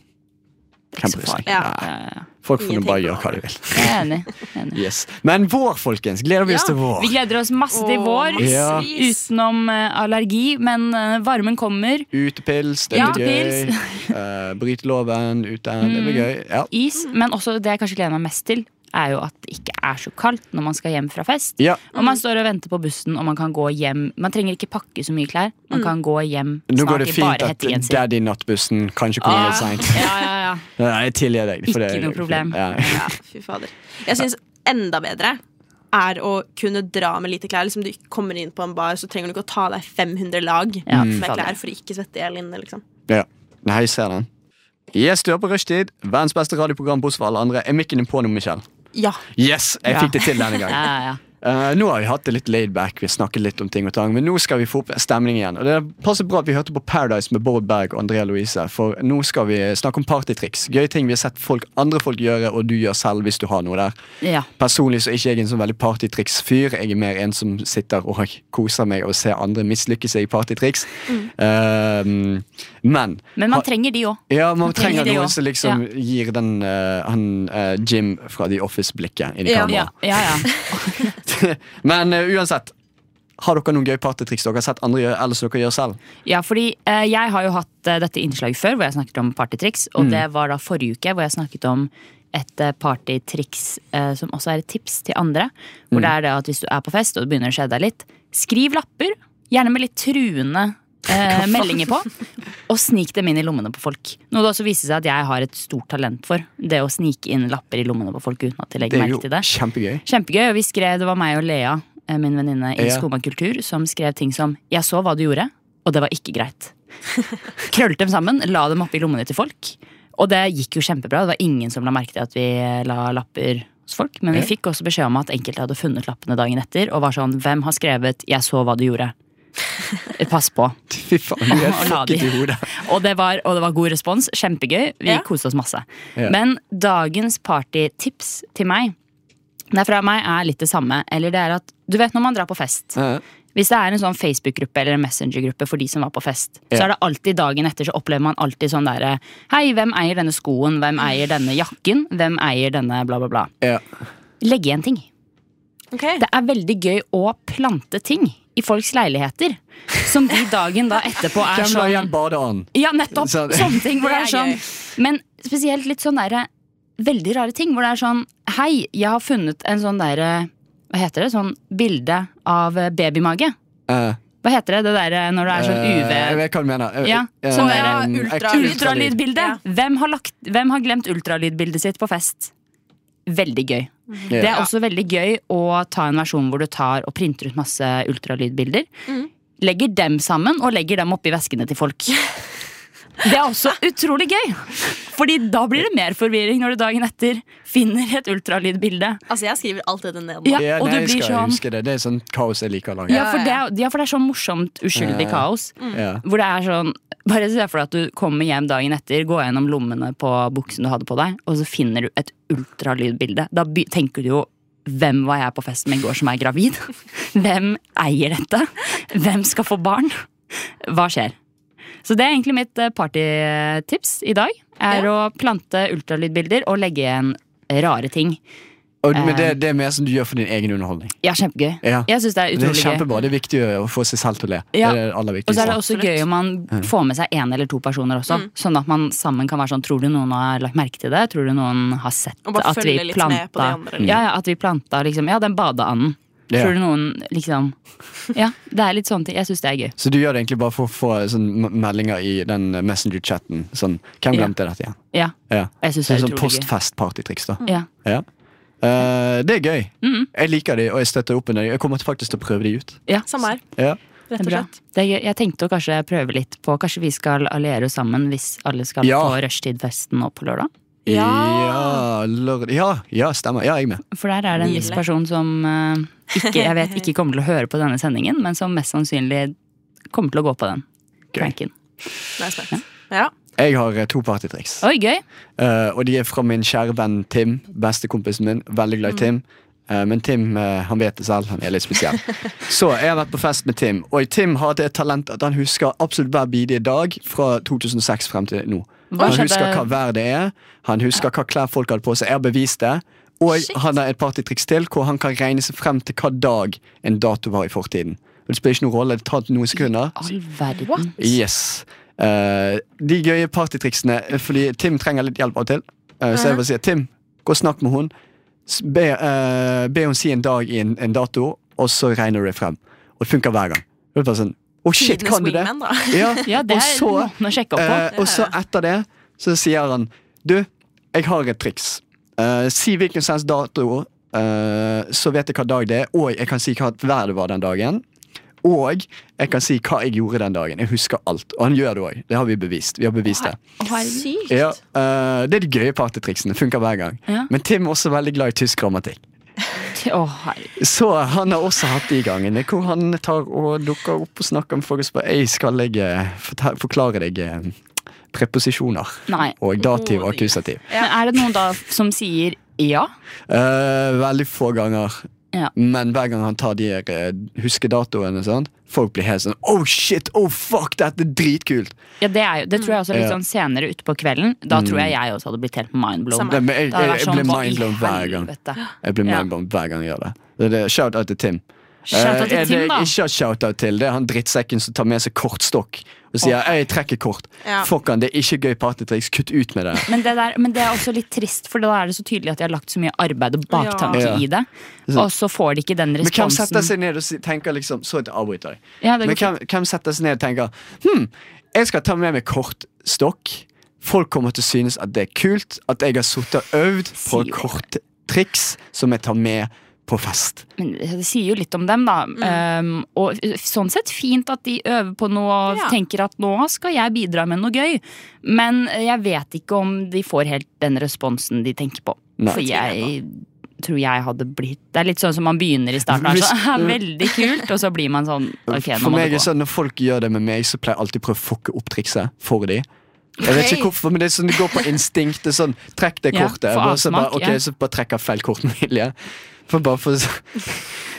Hvem så bryr seg? farlig. Ja. Nei, Ja, ja, ja. Folk får nå Ingenting bare på gjøre hva de vil. Jeg er enig. Jeg er enig. Yes. Men vår, folkens. Gleder vi oss Ja. til vår. Vi gleder oss masse til Åh, vår. Ja. massevis. men Men eh, varmen kommer. Utepils, det blir Ja, gøy. *laughs* Eh, Bryt loven, ute, det Mm. blir gøy. Ja. Is. Men også det jeg kanskje gleder meg mest til, er jo at det ikke er så kaldt når man skal hjem fra fest. ja. Og man står og venter på bussen, og man kan gå hjem. Man trenger ikke pakke så mye klær. Man kan gå hjem Nå går snart det i fint bare at hettegenser. daddy nattbussen kanskje Ah. kommer litt seint. Ja, ja, ja. Nei, jeg tilgir deg. for Ikke det- noe problem. Ja. *laughs* Ja, fy fader. Jeg syns enda bedre er å kunne dra med lite klær. Liksom Du kommer inn på en bar, så trenger du ikke å ta deg 500 lag Ja, med fader. klær for å ikke svette i hjel inne. Liksom. Ja. Nei, jeg ser den. Yes, du er på rushtid. Verdens beste radioprogram bortsett fra alle andre. Er mikken din på nå, Michelle? Ja. Yes, jeg Ja. fikk det til denne *laughs* ja, gangen. ja, ja. Eh, nå har vi hatt det litt laid back, vi har snakket litt om ting og tang, men nå skal vi få opp stemning igjen. Og det passer bra at vi hørte på Paradise med Bård Berg og Andrea Louise, for nå skal vi snakke om partytriks. Gøye ting vi har sett folk, andre folk gjøre, og du gjør selv hvis du har noe der. Ja. Personlig så er ikke jeg en sånn veldig partytriks-fyr. Jeg er mer en som sitter og koser meg og ser andre mislykke seg i partytriks. Eh, men Mm. Men man Ha- trenger de òg. ja, man trenger trenger det noen også. som liksom gir den eh, han eh, Jim fra The Office-blikket inn i Ja. Ja, kameraet. ja, ja. *laughs* Men eh, uansett, har dere noen gøye partytriks dere har sett andre gjøre, eller som dere gjør selv? Ja, fordi eh, jeg har jo hatt eh, dette innslaget før hvor jeg snakket om partytriks. Mm. Og det var da forrige uke hvor jeg snakket om et eh, partytriks eh, som også er et tips til andre. Mm. Hvor det er det at hvis du er på fest og det begynner å skje deg litt, skriv lapper. Gjerne med litt truende *laughs* eh, meldinger på. Og snik dem inn i lommene på folk. Noe det også viser seg at jeg har et stort talent for. Det å snike inn lapper i lommene på folk uten at de Det legger er jo merke til det. kjempegøy. *laughs* Kjempegøy, og vi skrev, det var meg og Lea, eh, min venninne i Ja. Skoma Kultur, som skrev ting som Jeg så hva du gjorde, og det var ikke *laughs* greit. Krøllet dem sammen, la dem oppi lommene til folk. Og det gikk jo kjempebra. Det var ingen som la merke til at vi eh, la lapper hos folk. Men vi Ja. fikk også beskjed om at enkelte hadde funnet lappene dagen etter og var sånn Hvem har skrevet 'Jeg så hva du *laughs* gjorde'? Pass på. Fy faen, du er Og la de. fucket i hodet. Og det var, og det var god respons. Kjempegøy. Vi Ja. koste oss masse. Ja. Men dagens partytips til meg det er fra meg er litt det samme. Eller det er at Du vet når man drar på fest. Ja. Hvis det er en sånn Facebook-gruppe eller en Messenger-gruppe for de som var på fest, Ja. så er det alltid dagen etter så opplever man alltid sånn derre Hei, hvem eier denne skoen? Hvem eier denne jakken? Hvem eier denne bla, bla, bla? Eh, Ja. Legg igjen ting. Ok. Det er veldig gøy å plante ting i folks leiligheter. Som de dagen da etterpå er Hvem la sånn igjen badeånden? ja, nettopp. Så- *laughs* Sånne ting hvor det er Det er sånn. gøy. Men spesielt litt sånn derre veldig rare ting hvor det er sånn Hei, jeg har funnet en sånn derre Hva heter det? Sånn bilde av eh, babymage. Eh, Hva heter det det derre når det er sånn eh, Jeg UV vet hva du mener. Eh, Ja, eh, sånn der, eh, ultra- ultralyd. Ultralydbilde! Ja. Hvem, har lagt, hvem har glemt ultralydbildet sitt på fest? Veldig gøy. Ja. Det er også veldig gøy å ta en versjon hvor du tar og printer ut masse Mm. *laughs* ultralydbilder. Legger dem sammen og legger dem oppi veskene til folk. Det er også utrolig gøy. Fordi da blir det mer forvirring når du dagen etter finner et ultralydbilde. Altså, jeg skriver alt dette ned nå. Ja, Ja, og nei, du jeg blir skal sånn huske det. Det er sånn kaos jeg liker å lage. ja for, det er, ja, for det er sånn morsomt uskyldig Ja. kaos. Ja. Hvor det er sånn Bare se for deg at du kommer hjem dagen etter, går gjennom lommene på buksen du hadde på deg, og så finner du et ultralydbilde. Da by- tenker du jo hvem var jeg på festen med i går som er gravid? *laughs* Hvem eier dette? Hvem skal få barn? Hva skjer? Så det er egentlig mitt eh, partytips i dag. Er å plante ultralydbilder og legge igjen rare ting. Og, Mm. Eh. men det, det er mer som du gjør for din egen underholdning. Ja, kjempegøy. Ja. Jeg syns det er Det er utrolig gøy. kjempebra. Det er viktig å få seg selv til å le. Ja. Det er det aller Og så er det viktigste. også gøy om man får med seg én eller to personer også. Mm. Sånn at man sammen kan være sånn Tror du noen har lagt merke til det? Tror du noen har sett Og bare at vi følge litt planta med på de andre, liksom. ja, ja, at vi planta liksom Ja, den badeanden. Ja. Tror du noen *laughs* liksom Ja, det er litt sånne ting. Jeg syns det er gøy. Så du gjør det egentlig bare for å få sånn m- meldinger i den Messenger-chatten. Sånn, hvem Ja. glemte dette igjen? Ja. Ja. Jeg synes Så det er utrolig gøy. sånn Mm. postfest-partytriks, Mm. da. ja. Ja. Eh, det er gøy. Mm. Jeg liker de, og jeg støtter opp under de. Jeg kommer faktisk til å prøve de ut. ja. Samme her, Ja. Det rett er og bra. slett. Det er gøy. Jeg tenkte å kanskje prøve litt på Kanskje vi skal alliere oss sammen hvis alle skal Ja. på rushtidfesten nå på lørdag? Ja, lørd- ja, ja, stemmer. Ja, jeg er med. For der er det en viss Nydelig. person som eh, ikke, jeg vet ikke kommer til å høre på denne sendingen, men som mest sannsynlig kommer til å gå på den. Gøy. Pranken. Nå er jeg spent. Ja. Jeg har eh, to partytriks. Oi, gøy! Eh, og de er fra min kjære venn Tim, bestekompisen min. Veldig Mm. glad i Tim. Eh, men Tim eh, han vet det selv, han er litt *laughs* spesiell. Så jeg har vært på fest med Tim, og Tim har det talentet at han husker absolutt hver bidige dag fra 2006 frem til nå. Hva han skjedde- husker hva vær det er, han husker hva klær folk hadde på seg. Jeg har bevist det. Og han har et partytriks til hvor han kan regne seg frem til hva dag en dato var i fortiden. Og Det spiller ikke noen rolle, det tar noen sekunder. All verden. Yes. Eh, de gøye partytriksene, eh, fordi Tim trenger litt hjelp av og til. Eh, så jeg vil si Tim, gå og snakk med hun S- Be, eh, be hun si en dag i en, en dato, og så regner du det frem. Og det funker hver gang. Det er bare sånn, Å, shit, Tidenes kan du det? wingman, da. Ja, *laughs* Ja, det og er så, noen å sjekke opp på. eh, og så etter det så sier han Du, jeg har et triks. Eh, si hvilken sens dato, eh, så vet jeg hva dag det er, og jeg kan si hva vær det var den dagen. Og jeg kan si hva jeg gjorde den dagen. Jeg husker alt. Og han gjør det òg. Det har vi bevist. Vi har bevist det. Sykt. Ja, eh, det er de gøye partytriksene. Funker hver gang. Ja. Men Tim er også veldig glad i tysk grammatikk. Å, herregud. Så han har også hatt de gangene hvor han tar og dukker opp og snakker med folk og spør «Ei, skal jeg eh, fortel- forklare deg eh, preposisjoner Nei. og dativ og akkusativ. Men er det noen da som sier ja? Eh, veldig få ganger. Ja. Men hver gang han tar de eh, huskedatoene, sånn, folk blir helt sånn Oh shit! Oh fuck! Dette er dritkult! ja det, er jo, det tror jeg også er litt Ja. sånn senere ute på kvelden. Da tror jeg jeg også hadde blitt helt mindblown. Nei, men jeg, Da hadde Mm. vært jeg, jeg sånn, blir hva i mindblown hver gang. helvete? Jeg blir Ja. mindblown hver gang jeg gjør det. det, er det shout out til Tim. Shout-out Eh, til er Tim, det da. ikke har shout-out til, det er han drittsekken som tar med seg kortstokk og sier 'jeg trekker kort'. Ja. Fuck han, det er ikke gøy partytriks, kutt ut med det. Men det, der, men det er også litt trist, for da er det så tydelig at de har lagt så mye arbeid og baktanke Ja. i det. Og så får de ikke den Men hvem responsen. setter seg ned og si- tenker liksom Så jeg avbryter deg. Ja, det går Men hvem, hvem setter seg ned og tenker Hm, jeg skal ta med meg kortstokk. Folk kommer til å synes at det er kult at jeg har sittet og øvd på Sier det. korttriks som jeg tar med på fest. Men det sier jo litt om dem, da. Um, og sånn sett fint at de øver på noe og Ja. tenker at nå skal jeg bidra med noe gøy. Men eh, jeg vet ikke om de får helt den responsen de tenker på. Nei. For jeg tror jeg hadde blitt Det er litt sånn som man begynner i starten. Er sånn, *laughs* veldig kult, og så blir man sånn ok, nå for må meg det er gå. sånn, Når folk gjør det med meg, så pleier jeg alltid å prøve å fucke opp trikset for dem. Jeg vet ikke hvorfor, men det er sånn det går på instinkt. Det er sånn, Trekk det Ja, kortet. for bare, så bare, avsmak, ok, ja. så bare trekker jeg feil kort *laughs* med vilje. For bare for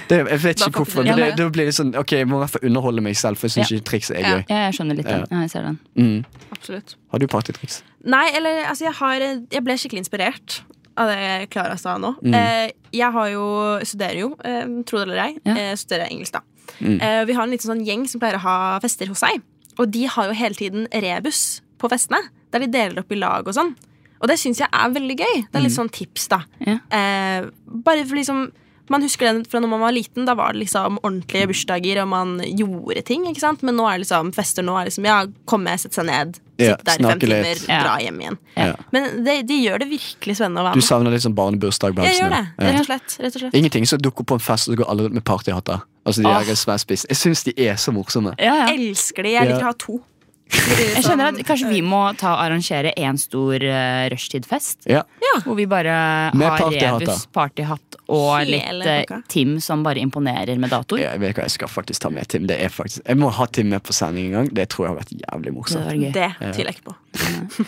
det, Jeg vet ikke hvorfor, men det, da blir det sånn Ok, jeg må i hvert fall underholde meg selv, for jeg syns ikke triks er Ja. gøy. Ja, jeg skjønner litt den. Ja, jeg ser den. Absolutt. Har du partytriks? Nei, eller altså, jeg, har, jeg ble skikkelig inspirert av det Klara sa nå. Mm. Eh, jeg har jo, studerer jo, eh, tro det eller ei, Ja. eh, studerer engelsk, da. Mm. Eh, vi har en liten sånn gjeng som pleier å ha fester hos seg. Og de har jo hele tiden rebus på festene, der de deler opp i lag og sånn. Og det syns jeg er veldig gøy. Det er Mm. litt sånn tips, da. Ja. Eh, bare for liksom man husker den fra når man var liten. Da var det liksom ordentlige bursdager, og man gjorde ting. ikke sant? Men nå er det liksom fester. nå er det liksom, Ja, komme, sette seg ned, sitte Ja, der i fem snakke timer, litt. Ja. dra hjem igjen. Ja. Men de, de gjør det virkelig spennende å være Du med. savner litt sånn barnebursdag-bamsene? Jeg gjør det, Ja. rett og slett. Rett og slett. Ingenting som dukker opp på en fest, og så går alle rundt med partyhatter. Altså de Åh. der er svært spiss. Jeg syns de er så morsomme. Ja, ja. Elsker de. Jeg liker å ha to. Jeg Sånn, skjønner at Kanskje eh, vi må ta og arrangere en stor eh, rushtidfest? Ja. Hvor vi bare Med har partyhatter. Rebus partyhatt og Hele litt eh, pakka. Tim som bare imponerer med datoer. Jeg vet hva jeg skal faktisk ta med Tim. Det er faktisk, jeg må ha Tim med på sending en gang. Det tror jeg har vært Så jævlig det morsomt. var gøy. Det tviler jeg ikke på.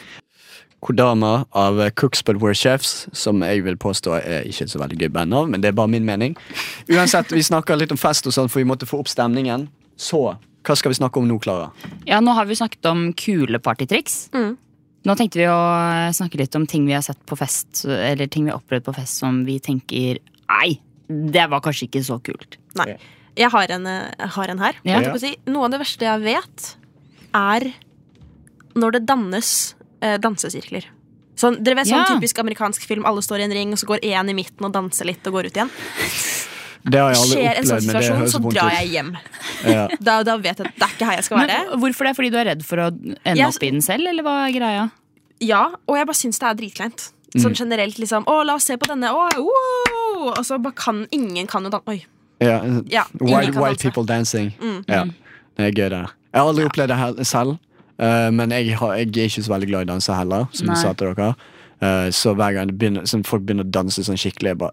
Kodama av eh, Cooks But We're Chefs, som jeg vil påstå er ikke et så veldig gøy bandnavn, men det er bare min mening. Uansett, vi snakker litt om fest og sånn, for vi måtte få opp stemningen. Så hva skal vi snakke om nå, Klara? Ja, nå har vi snakket om kule partytriks. Mm. Nå tenkte vi å eh, snakke litt om ting vi har sett på fest, eller ting vi har opplevd på fest som vi tenker Nei, det var kanskje ikke så kult. Nei. Jeg har en, eh, jeg har en her. Ja. Jeg holdt på å si, noe av det verste jeg vet, er når det dannes eh, dansesirkler. Sånn, dere vet sånn Ja. typisk amerikansk film, alle står i en ring, og så går én i midten og danser litt og går ut igjen. Det har jeg aldri Skjer en sånn opplevd, men det situasjon, høres så vondt drar ut. jeg hjem. Ja. Da, da vet jeg at det er ikke her jeg skal være. Men hvorfor det? Fordi du er redd for å ende Jeg- opp i den selv, eller hva er greia? Ja, og jeg bare syns det er dritkleint. Sånn Mhm. generelt liksom Å, la oss se på denne. Å, wow! Og så bare kan ingen kan jo danse. Oi. Ja. Ja, ingen White, kan white danse. people dancing. Mm, Ja. Det er gøy, det. der. Jeg har aldri opplevd det her selv, eh, men jeg, har, jeg er ikke så veldig glad i å danse heller, som Nei. jeg sa til dere. Eh, så hver gang det begynner, sånn, folk begynner å danse sånn skikkelig, jeg bare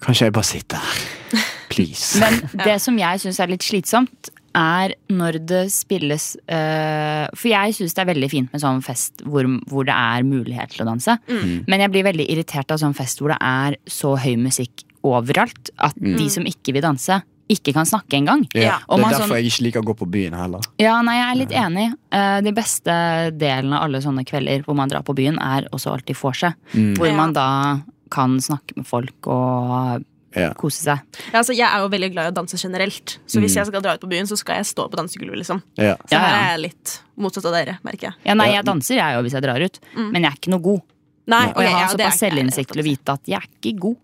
Kanskje jeg bare *laughs* sitter her? Please. Men det som jeg syns er litt slitsomt, er når det spilles eh, For jeg syns det er veldig fint med sånn fest hvor, hvor det er mulighet til å danse. Men jeg blir veldig irritert av sånn fest hvor det er så høy musikk overalt at de som ikke vil danse, ikke kan snakke engang. Ja. Og Det man er sånn- derfor jeg ikke liker å gå på byen heller. Ja, nei, jeg er litt enig. Eh, De beste delen av alle sånne kvelder hvor man drar på byen, er også alltid vorset. Hvor Ja. man da kan snakke med folk og Ja. kose seg. Ja, altså, jeg er jo veldig glad i å danse generelt, så hvis jeg skal dra ut på byen, så skal jeg stå på dansegulvet. liksom Mhm. Ja. Så Ja, her ja. er jeg litt motsatt av dere, merker jeg. Ja, nei, jeg danser jeg òg hvis jeg drar ut, men jeg er ikke noe god. Nei, Og ok, jeg har ja, det er- såpass selvinnsikt til å vite at jeg er ikke god.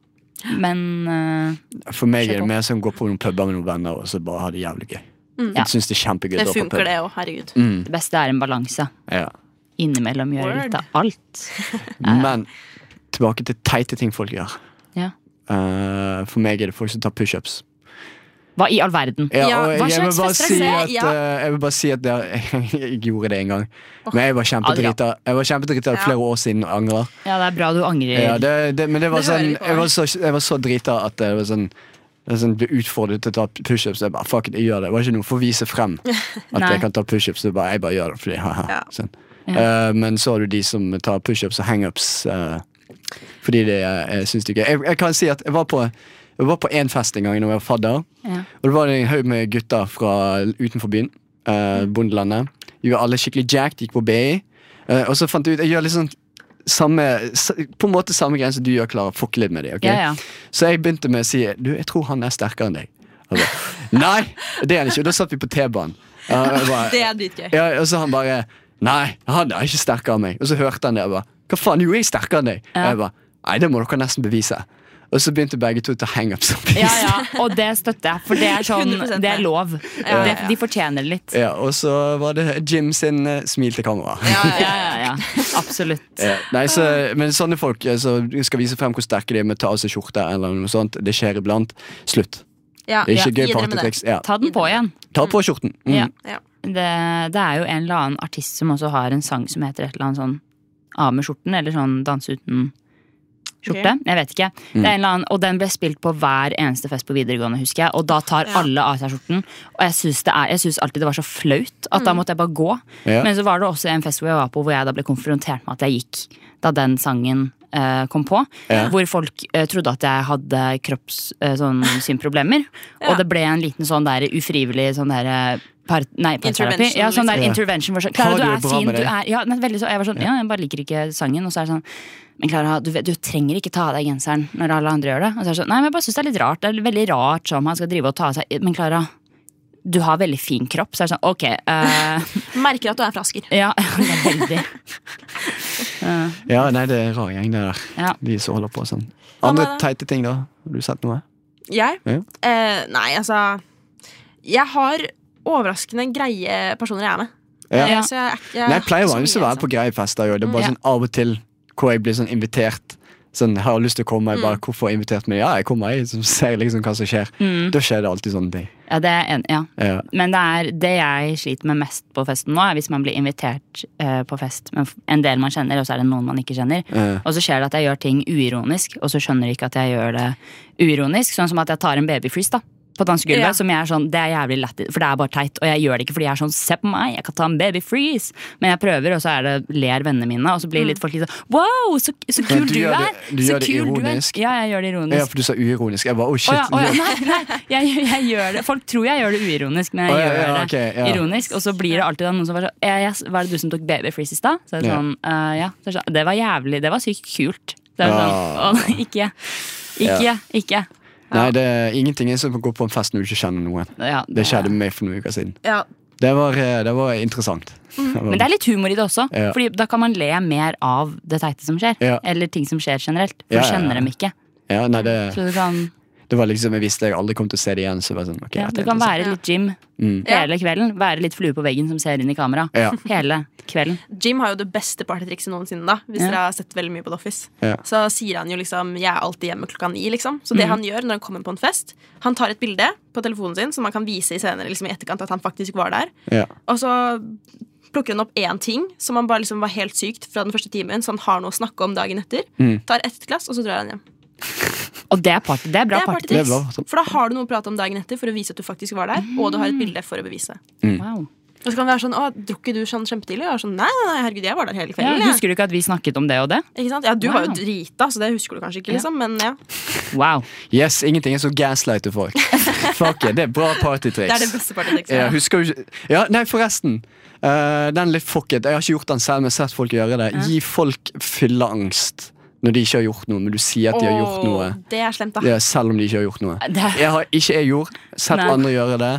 Men eh, For meg Kjør er på. det mer som å gå på noen puber med noen venner og så bare ha det jævlig gøy. Mm. Ja. Jeg synes det er kjempegøy å Det dra på funker, pub. Mm. det òg. Herregud. det beste er en balanse. Ja. Innimellom gjøre Word. litt av alt. Men tilbake til teite ting folk gjør. Ja. Eh, for meg er det folk som tar pushups. Hva i all verden? Ja, og hva jeg, jeg, vil slags bare fester si er at, det? Ja. eh, jeg vil bare si at det, *laughs* jeg gjorde det en gang. Men jeg var kjempedrita. Jeg var kjempedrita Ja. flere år siden og angrer. Ja, det er bra du angrer. Ja, det, det, men det var Det hører sånn, vi på. jeg, var så, jeg var så drita at det var sånn jeg sånn, ble utfordret til å ta pushups. Jeg bare, fuck it, jeg gjør det. Det var ikke noe for å vise *laughs* frem at Nei. jeg kan ta pushups. Jeg, bare- jeg bare gjør det fordi haha. Ja. Sånn. Eh, men så har du de som tar pushups og hangups eh, fordi det jeg syns det er gøy. Jeg, jeg kan si at jeg var på Jeg var på én fest en gang da jeg var fadder. Ja. Og det var en haug med gutter fra utenfor byen. eh, bondelandet. De var alle skikkelig jacked, gikk på BI. Eh, og så fant jeg ut Jeg gjør litt sånn samme, s- på en måte samme greie som du gjør, Klara. Fucke litt med dem. ok? Ja, ja. Så jeg begynte med å si Du, jeg tror han er sterkere enn deg. Og jeg bare, Nei, det er han ikke. Og da satt vi på T-banen. Eh, og jeg bare- *laughs* Det er dritgøy. ja, og så han bare Nei, han er ikke sterkere enn meg. Og så hørte han det og bare Hva faen, jo, jeg er sterkere enn deg. Og jeg bare Nei, det må dere nesten bevise. Og så begynte begge to å ta hangups. Ja, ja, *laughs* og det støtter jeg, for det er *laughs* sånn, 100% det er lov. Ja, ja, ja. Det, de fortjener det litt. Ja, og så var det Jim sin eh, smil til kamera. Ja, Ah. Ja, ja, ja, ja. *laughs* Absolutt. Ja, Nei, så, men sånne folk eh, som skal vise frem hvor sterke de er med å ta av seg skjorte eller noe sånt, det skjer iblant. Slutt. ja. Det er ikke Ja, gøy gi dere med det. partytriks. Ja. Ta den på igjen. Ta på skjorten. Mm. Ja. Ja. Det, det er jo en eller annen artist som også har en sang som heter et eller annet sånn Av med skjorten, eller sånn Danse uten skjorte. Jeg vet ikke. Det er en eller annen, og den ble spilt på hver eneste fest på videregående, husker jeg. Og da tar alle av seg skjorten. Og jeg syns, det er, jeg syns alltid det var så flaut at da måtte jeg bare gå. Ja. Men så var det også en fest hvor jeg var på hvor jeg da ble konfrontert med at jeg gikk da den sangen eh, kom på. Ja. Hvor folk eh, trodde at jeg hadde kropps eh, sånn, synproblemer. *laughs* Ja. Og det ble en liten sånn der ufrivillig sånn der eh, par, Nei, parterapi. Intervention, Ja, sånn der liksom. intervention. hvor sånn, Har Klara, du du det er bra fin, med du deg? er ja, nei, veldig så, Jeg var sånn, ja, jeg bare liker ikke sangen. Og så er det sånn Men Klara, du, vet- du trenger ikke ta av deg genseren når alle andre gjør det. Og så er det sånn, nei, men jeg bare synes det er litt rart. Det er veldig rart som han skal drive og ta av seg Men Klara, du har veldig fin kropp. Så er det sånn, ok. eh, Merker at du er fra Asker. ja, *laughs* det er veldig. Ja, nei, det er en rar gjeng, det der. Ja. De som holder på sånn. Hva med Andre deg? teite ting, da? Har du sett noe? Jeg? Ja. Eh, nei, altså Jeg har overraskende greie personer jeg er med. Ja. Eh, Så jeg, jeg, Nei, jeg pleier vanligvis så å mye, altså. Mm, være på greie fester. jo. Det er bare Ja. sånn av og til hvor jeg blir sånn invitert. Sånn, har Mm. Mm. lyst til å komme, jeg bare, Hvorfor har jeg invitert meg? Ja, jeg kommer, jeg som ser liksom hva som skjer. Da skjer det alltid sånne ting. Ja, det er en, ja. Ja. Men det er det jeg sliter med mest på festen nå, er hvis man blir invitert eh, på fest med f- en del man kjenner, og så er det noen man ikke kjenner. Og så skjer det at jeg gjør ting uironisk, og så skjønner de ikke at jeg gjør det uironisk. Sånn som at jeg tar en babyfreeze da, på dansegulvet, Ja. som jeg er sånn, det er jævlig lættis, for det er bare teit. Og jeg gjør det ikke fordi jeg er sånn, se på meg, jeg kan ta en babyfreeze. Men jeg prøver, og så er det, ler vennene mine, og så blir litt folk litt sånn, wow, så, så Men kul du du, gjør er! det- du så gjør det kul du er!» ironisk. Ja, jeg gjør det ironisk. Ja, for du sa uironisk. Jeg bare, oh shit. Å ja, å ja, nei, nei jeg, jeg gjør det Folk tror jeg gjør det uironisk, men jeg Å ja, gjør ja, det ok, ja. ironisk. Og så blir det alltid da noen som bare sånn «Ja, ja, Var det du som tok babyfreeze i stad? Så er det Ja. sånn, «Eh, ja. Så er det sånn, det var jævlig Det var sykt kult. Det er sånn, Ja. å, nei, ikke jeg. Ikke jeg. Ikke jeg. Nei, det er ingenting som går på en fest når du ikke kjenner noen. Ja, Det skjedde med meg for noen uker siden. Ja. Det var, eh, det var interessant. Det var- Mhm. Men det er litt humor i det også, Ja. Fordi da kan man le mer av det teite som skjer. Ja. Eller ting som skjer generelt. For Ja, du ja, ja. kjenner dem ikke. ja, nei, det, Så du kan, det var liksom, Jeg visste jeg aldri kom til å se det igjen. Så det var sånn, ok, ja, dette du er kan interessant. være litt Jim Mm. hele kvelden. Være litt flue på veggen som ser inn i kamera. Ja. Hele kvelden. Jim har jo det beste partytrikset noensinne, da, hvis Ja. dere har sett veldig mye på The Office. Ja. Så sier han jo liksom 'jeg er alltid hjemme klokka ni', liksom. Så det han gjør når han kommer på en fest, han tar et bilde på telefonen sin som han kan vise i senere liksom i etterkant at han faktisk var der. Ja. Og så plukker han opp én ting som han bare liksom var helt sykt fra den første timen, så han har noe å snakke om dagen etter. Mm. Tar ett glass, og så drar han hjem. Og det er, party, det er bra det er party. Det er bra, partytriks. altså. For da har du noe å prate om dagen etter for å vise at du faktisk var der, og du har et bilde for å bevise. Wow. Og så kan det være sånn 'Å, drukket du sånn kjempetidlig?' Og jeg er sånn 'Nei, nei, nei, herregud, jeg var der hele Ja, kvelden', jeg. husker du ikke at vi snakket om det og det? Ikke sant? Ja, du var jo Wow. drita, så det husker du kanskje ikke, liksom. Men ja. Wow. Yes, ingenting er så gaslight *laughs* til folk. Fuck it, det er bra Det er det partytriks. beste partytrikset. Ja, husker du ikke Ja, nei, forresten. eh, den litt fuck it. Jeg har ikke gjort den selv, men jeg har sett folk gjøre det. Gi folk fylleangst når de ikke har gjort noe, men du sier at de har gjort Åh, noe. Det er slemt, da. Ja, selv om de ikke har gjort noe. Det, er- Jeg har ikke jeg gjort. Sett Nei. andre gjøre det.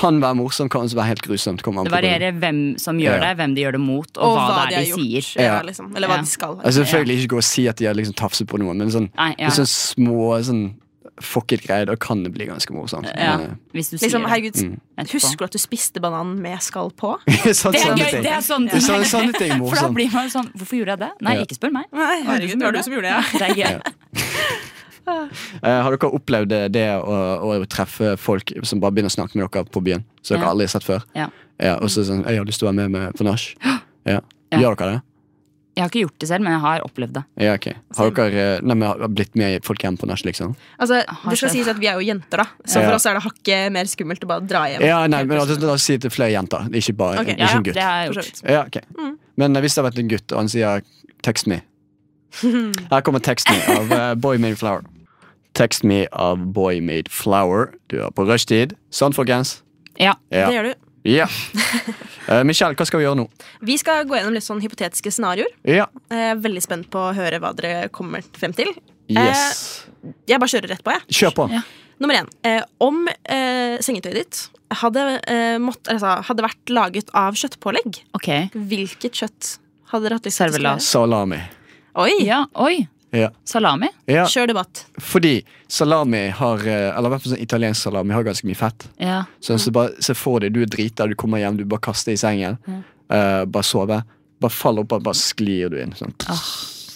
Kan være morsomt, kan også være helt grusomt. Kommer an det på hvordan. varierer hvem som gjør Ja. det, hvem de gjør det mot, og, hva, det er de, sier. Ja, Ja. liksom. Eller hva Ja. de skal. Altså, selvfølgelig ikke gå og si at de har liksom tafset på noen, men sånn, Nei, ja. det er sånn små sånn fuck it-greier, da kan det bli ganske morsomt. Ja, Eh, *laughs* hvis du Liksom, sier herregud, Mm. etterpå. Husker du at du spiste bananen med skall på? *laughs* sånn, det. Det er sånne gøy! ting. Det er sånn Det er sånne, sånne ting er For da morsomt. blir man sånn Hvorfor gjorde jeg det? Nei, Ja. ikke spør meg. Nei, herregud, det var du som gjorde det. Det er gøy. Eh, har dere opplevd det- det å, å treffe folk som bare begynner å snakke med dere på byen, som dere Ja. aldri har sett før? Ja. og så sånn, jeg har lyst til å være med, med på nach. Ja. *gasps* Ja. Gjør dere det? Jeg har ikke gjort det selv, men jeg har opplevd det. Ja, ok. Har dere eh, nei, men, har blitt med folk hjem på nach, liksom? Altså, Har det skal skjedd. sies at vi er jo jenter, da. Så Ja. for oss er det hakket mer skummelt å bare dra hjem. Ja, nei, men altså, da sier jeg til flere jenter, ikke bare Ok, ikke ja, Mm. en det gutt. har jeg For så gjort. vidt. Ja, ok. Men eh, hvis det har vært en gutt, og han sier 'text *laughs* me' Her kommer 'Text me' av eh, Boy Made Flower. 'Text me' av Boy Made Flower. Du er på rushtid. Sant, folkens? Ja. Det Ja. gjør du. *laughs* ja. Eh, Michelle, hva skal vi gjøre nå? Vi skal gå gjennom litt sånn hypotetiske scenarioer. Ja. Eh, veldig spent på å høre hva dere kommer frem til. Yes. Jeg bare kjører rett på, jeg. Kjør på. Ja. Nummer én. Eh, om eh, sengetøyet ditt hadde, eh, mått, altså, hadde vært laget av kjøttpålegg, Ok. hvilket kjøtt hadde dere hatt lyst til å Servelat. servere? Salami. Oi! Ja, oi. Ja. Salami? ja. Kjør debatt. Fordi salami har eh, Eller i hvert fall sånn italiensk salami har ganske mye fett. Ja. Så, så bare se for deg, du er drita, du kommer hjem, du bare kaster i sengen. eh, bare sove. Bare faller opp, og bare sklir du inn. Sånn,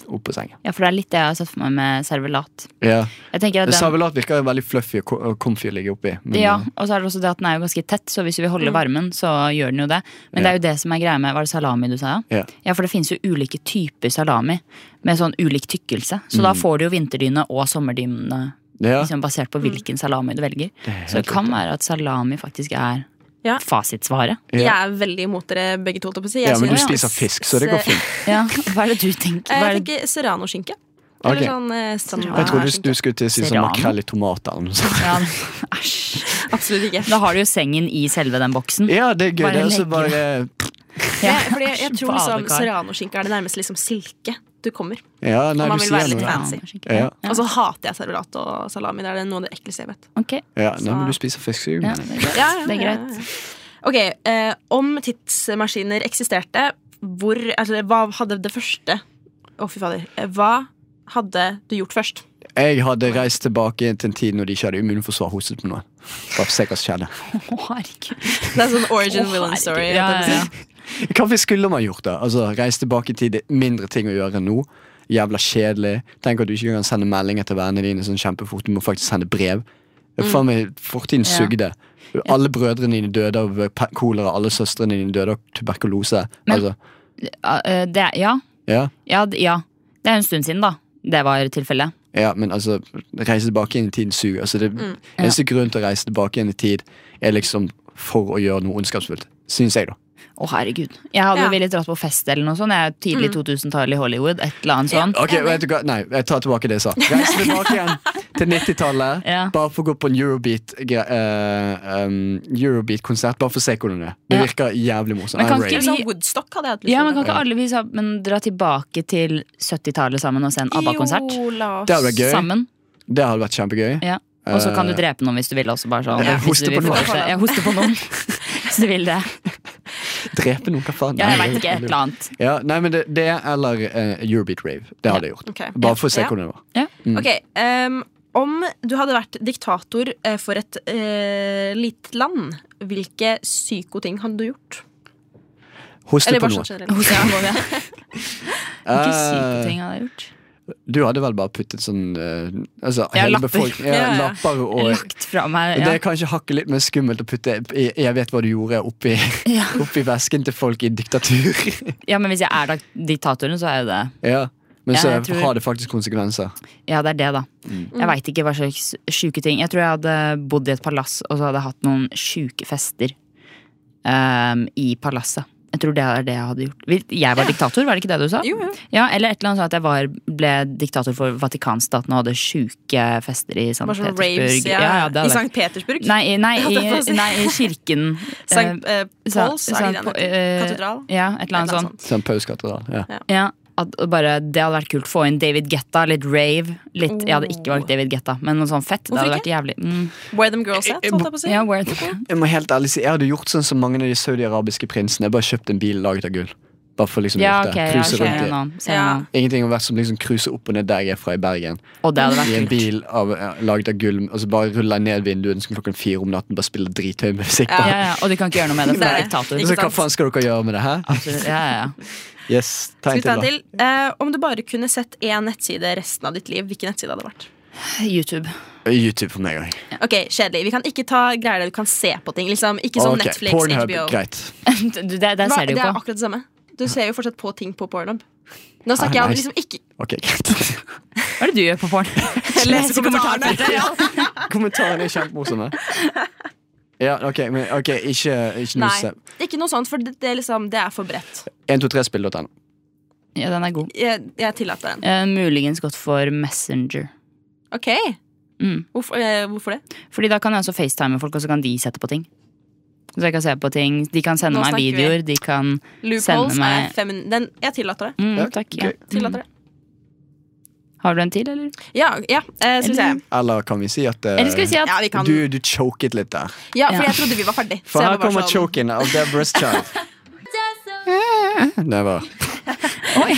Opp på sengen. ja, for det er litt det jeg har sett for meg med servelat. Ja. Jeg tenker at den, Servelat virker jo veldig fluffy og ko- og comfy å ligge oppi. men, Ja, eh, og så er det også det at den er jo ganske tett, så hvis vi holder Mm. varmen, så gjør den jo det. Men det er jo det som er greia med Var det salami du sa? Ja. ja for det finnes jo ulike typer salami med sånn ulik tykkelse. Så da får du jo vinterdyne og sommerdyne Mm. eh, ja. liksom basert Mm. på hvilken salami du velger. Så det kan være at salami faktisk er Ja. *laughs* fasitsvaret. Ja. Jeg er veldig imot dere begge to. holdt jeg på å si. Jeg ja, men du synes- spiser fisk, så det går fint. Ja, hva er det du tenker? Eh, Hva er Jeg det? tenker serranoskinke. Ok. Eller sånn eh, standard Jeg trodde du skinke. skulle til å si sånn Serrano? makrell i tomat eller noe sånt. Ja, æsj. Absolutt ikke. Da har du jo sengen i selve den boksen. *laughs* Ja, det er gøy. Bare Det er legge også bare Ja, fordi jeg, jeg tror liksom Badekar. serranoskinke er det nærmeste liksom silke du kommer. Ja, nei, man du vil sier være litt noe. fan. Ja. fancy. Ja. Og så hater jeg servelat og salami. Det er det noe av det ekleste jeg vet. Ok, Ja, nei, men du spiser fisk, så ja, ja. det er greit. Ja, ja, Det er ja, ja, greit. ja. Ok, eh, Om tidsmaskiner eksisterte, hvor, altså, hva hadde det første Å, fy fader. Eh, Hva hadde du gjort først? Jeg hadde reist tilbake til en tid når de ikke hadde immunforsvar hostet på noen. Bare for å se hva som skjedde. Å, herregud. Det er sånn origin villain herregud. story. Ja, ja, ja. Hvorfor skulle man gjort det? Altså, Reise tilbake i tid, det er mindre ting å gjøre nå. Jævla kjedelig. Tenk at du ikke kan sende meldinger til vennene dine sånn kjempefort. Du må faktisk sende brev. Det er faen meg Fortiden Ja. sugde. Alle brødrene dine døde av eh, pe- kolera, alle søstrene dine døde av tuberkulose. Men- altså, Ja, eh, det, ja, ja, ja, d- ja. Det er en stund siden, da. Det var tilfellet. ja, men altså, reise tilbake igjen i tiden suger. Altså, det Mm, Eneste grunn til å reise tilbake igjen i tid er liksom for å gjøre noe ondskapsfullt. Syns jeg, da. Å, herregud. Jeg hadde Ja. Mm. villet dratt på fest eller noe sånt. Jeg er tidlig 2000-tallet i Hollywood. Et eller annet sånt. Ok, vet du hva? Nei, jeg tar *laughs* tilbake det jeg sa. Reise tilbake igjen til 90-tallet. Ja. Bare for å gå på en Eurobeat, gre- eh, um, Eurobeat-konsert. Bare for å se hvordan det er. Det Ja. virker jævlig morsomt. Men I'm kan ready. ikke Eller sånn Woodstock hadde jeg hatt lyst Ja, til. men Kan ikke alle vi sa- men dra tilbake til 70-tallet sammen og se en ABBA-konsert? Jo, la oss. Det hadde vært gøy. Sammen. Det hadde vært kjempegøy. Ja. Og så kan du Eh, drepe noen hvis du vil. Også, bare sånn. Ja, hvis hoste du vil på noen. fortelle- Ja, hoste på noen. *laughs* Hvis du vil det. Drepe noen, hva faen? Ja, jeg Nei, veit ikke. Et eller annet. Ja, nei, men det, det eller eh, Eurobeat Rave. Det hadde jeg gjort. Ok. Bare for å se Ja. hvordan det var. Mm. Ok, ehm, om du hadde vært diktator eh, for et eh, lite land, hvilke syko ting hadde du gjort? Hoste Eller på bare noe. sånn generelt. Ja. Hvilke Eh, syke ting jeg hadde gjort. du hadde vel bare puttet sånn eh, altså, Ja, hele lapper. befolk- Ja, Ja, ja. lapper og Lagt fra meg. Det Ja. er kanskje hakket litt mer skummelt å putte i, Jeg vet hva du gjorde oppi, Ja. oppi vesken til folk i *laughs* diktatur. ja, men hvis jeg er dak- diktatoren, så er jo det ja. Men Ja, så jeg tror- har det faktisk konsekvenser. Ja, det er det, da. Mm. Jeg veit ikke hva slags sjuke ting. Jeg tror jeg hadde bodd i et palass, og så hadde jeg hatt noen sjuke fester ehm, i palasset. Jeg tror det er det jeg hadde gjort. Hvis Jeg var diktator, var det ikke det du sa? Jo, jo. Ja, Eller et eller annet sånn at jeg var, ble diktator for Vatikanstaten og hadde sjuke fester i St. *laughs* Bare sånn Petersburg. raves ja, ja, ja, det i hadde jeg. St. Petersburg. Nei, i- nei, *laughs* Ja, det sånn. får jeg i, si. nei, i *laughs* kirken. St. Eh, Eh, Sa- Pauls, er St. det den Paul- heter? eh, Katedral? ja, et eller annet sånn. sånt. St. Paus katedral. Ja. Ja, at og bare, Det hadde vært kult. Få inn David Getta, litt rave. Litt, Jeg hadde ikke valgt David Getta, men noe sånn fett. Det Oh. Hvorfor hadde vært jævlig mm. Where them girls Eh, at, holdt jeg på å si. ja, where the, Jeg må helt ærlig si, jeg hadde gjort sånn som mange av de saudiarabiske prinsene. Jeg bare kjøpt en bil laget av gull. Bare for liksom ja gjort ok, det. ja, Cruise ser rundt jeg i. nå, ser jeg Ja. nå. Ingenting har vært som liksom cruise opp og ned der jeg er fra i Bergen. Og det hadde I en vært kult. bil av, ja, laget av gull, og så bare ruller jeg ned vinduet så klokken fire om natten bare spiller drithøy musikk. Ja, bare. ja, og du kan ikke gjøre noe med det, for du er Nei. diktator. *laughs* Ikke Så hva sant? faen skal dere gjøre med det her? Absolutt, Ja, ja, *laughs* ja. Yes, Skal tegn vi ta til, en da. til? Eh, om du bare kunne sett én nettside resten av ditt liv, hvilken nettside hadde det vært? YouTube. YouTube for meg òg. Ok, Kjedelig. Vi kan ikke ta greier der du kan se på ting. Liksom. Ikke sånn Netflix, Pornhub, HBO. greit. *laughs* Du, det, det Hva, ser du det jo er på. akkurat det samme. Du ser jo fortsatt på ting på Pornhub. Nå snakker Ah, jeg om nice. liksom ikke Ok, *laughs* greit. Hva er det du gjør på porn? *laughs* lese kommentarene. *laughs* Kommentarene er kjempemorsomme. Ja, ok, men ok, ikke, ikke noe Nei, se. ikke noe sånt, for det, det, er liksom, det er for bredt. 123spill.no. Ja, den er god. Jeg, jeg tillater den. Eh, muligens godt for Messenger. Ok, Mm. hvorfor, eh, hvorfor det? Fordi da kan jeg også facetime folk, og så kan de sette på ting. Så jeg kan se på ting. De kan sende Nå meg snakker vi. videoer. De kan Loopholes meg- er femin... Den, jeg tillater det. mm, Ja, Takk. gøy. Ja. Mm. Tillater det. Har du en til, eller? Ja, ja eh, skal vi se. Eller kan vi si at, eh, Eller skal vi si at Ja, vi kan. du, du choket litt der? Ja, for Ja. jeg trodde vi var ferdig. For så jeg her var bare kommer sånn- choken av Deborah's *laughs* Child. Eh, Det var Oi.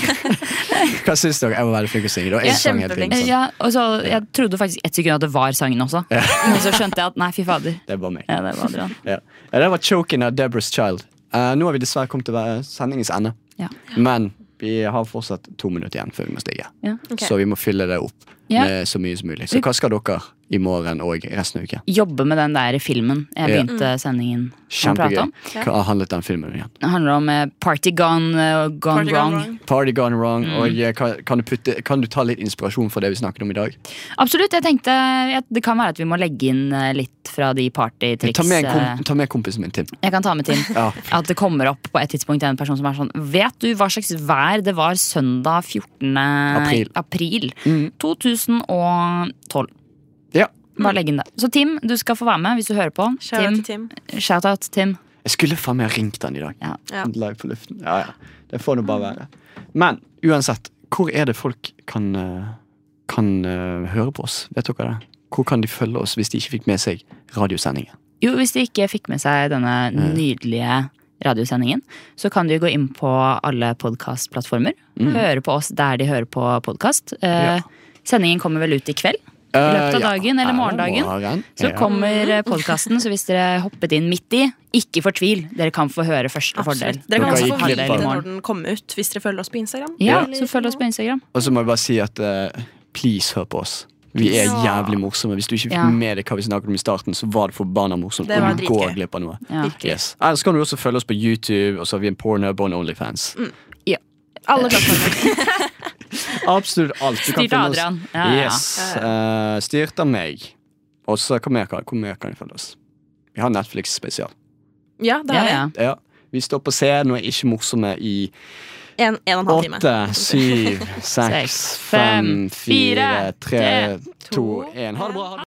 Hva syns dere? Jeg var veldig flink til å synge. Det var Ja, én sang hele tiden. kjempeflink. sant? *laughs* ja, og så, Jeg trodde faktisk ett sekund at det var sangen også. Men så skjønte jeg at nei, fy fader. Det er bare meg. Ja, det var Adrian. Ja. Ja, det var choken av Deborah's Child. Eh, nå har vi dessverre kommet til eh, sendingens ende. Ja. Men vi har fortsatt to minutter igjen før vi må stige. Ja. Ok. Så vi må fylle det opp Ja. med så mye som mulig. Så hva skal dere i morgen og resten av uken? Jobbe med den der filmen jeg Ja. begynte Mm. sendingen å prate Kjempegøy. om. Hva handlet den filmen om igjen? Det handler om eh, Party Gone, eh, gone Party wrong. gone wrong. Party gone wrong. Mm. Og eh, kan, kan, du putte, kan du ta litt inspirasjon fra det vi snakket om i dag? Absolutt. jeg tenkte at Det kan være at vi må legge inn eh, litt fra de partytriks. Ta med, en eh, kom, ta med kompisen min, Tim. Jeg kan ta med Tim. Ja. At det kommer opp på et tidspunkt en person som er sånn Vet du hva slags vær det var søndag 14. April. april 2012? Mm. Ja. Bare legg inn det. Så Tim, du skal få være med hvis du hører på. Mm. Shout out Tim, til Tim. Shout-out, Tim. Jeg skulle faen meg ha ringt han i dag. Ja. Ja. Live på luften. Ja, ja. Det får nå bare være. Men uansett, hvor er det folk kan, eh, kan eh, høre på oss? Vet dere det? Hvor kan de følge oss hvis de ikke fikk med seg radiosendingen? Jo, hvis de ikke fikk med seg denne nydelige radiosendingen, så kan de gå inn på alle podkastplattformer. Høre på oss der de hører på podkast. Eh, Mm. Ja. Sendingen kommer vel ut i kveld? I Eh, løpet av dagen eller morgendagen? Så ja. kommer podkasten, så hvis dere hoppet inn midt i, ikke fortvil. Dere kan få høre første fordel. Absolutt. Dere kan Dere også gikk få høre glipp det av den. når den kommer ut, hvis dere følger oss på Instagram. Ja, Eller- så følg oss på Instagram. Og så må jeg bare si at eh, please hør på oss. Vi er Ja. jævlig morsomme. Hvis du ikke fikk Ja. med deg hva vi snakket om i starten, så var det forbanna morsomt. Det var og du går dritgøy. glipp av noe. Ja. Yes. Ellers kan du også følge oss på YouTube, og så har vi en pornhub og en Onlyfans. Mm. Alle plattformer. Absolutt alt. Du kan Styrt av finne oss- Adrian. Ja, ja, ja. Yes. eh, styrt av meg. Og så hvor mer kan hvor mer kan du følge oss? Vi har Netflix-spesial. Ja, det Ja, har ja. Ja. Vi står på scenen og er ikke morsomme i vi. En, en og en halv time. åtte, syv, *laughs* seks, Seks, fem, fem, fire, fire, tre, tre, to, én. Ha det bra. ha det.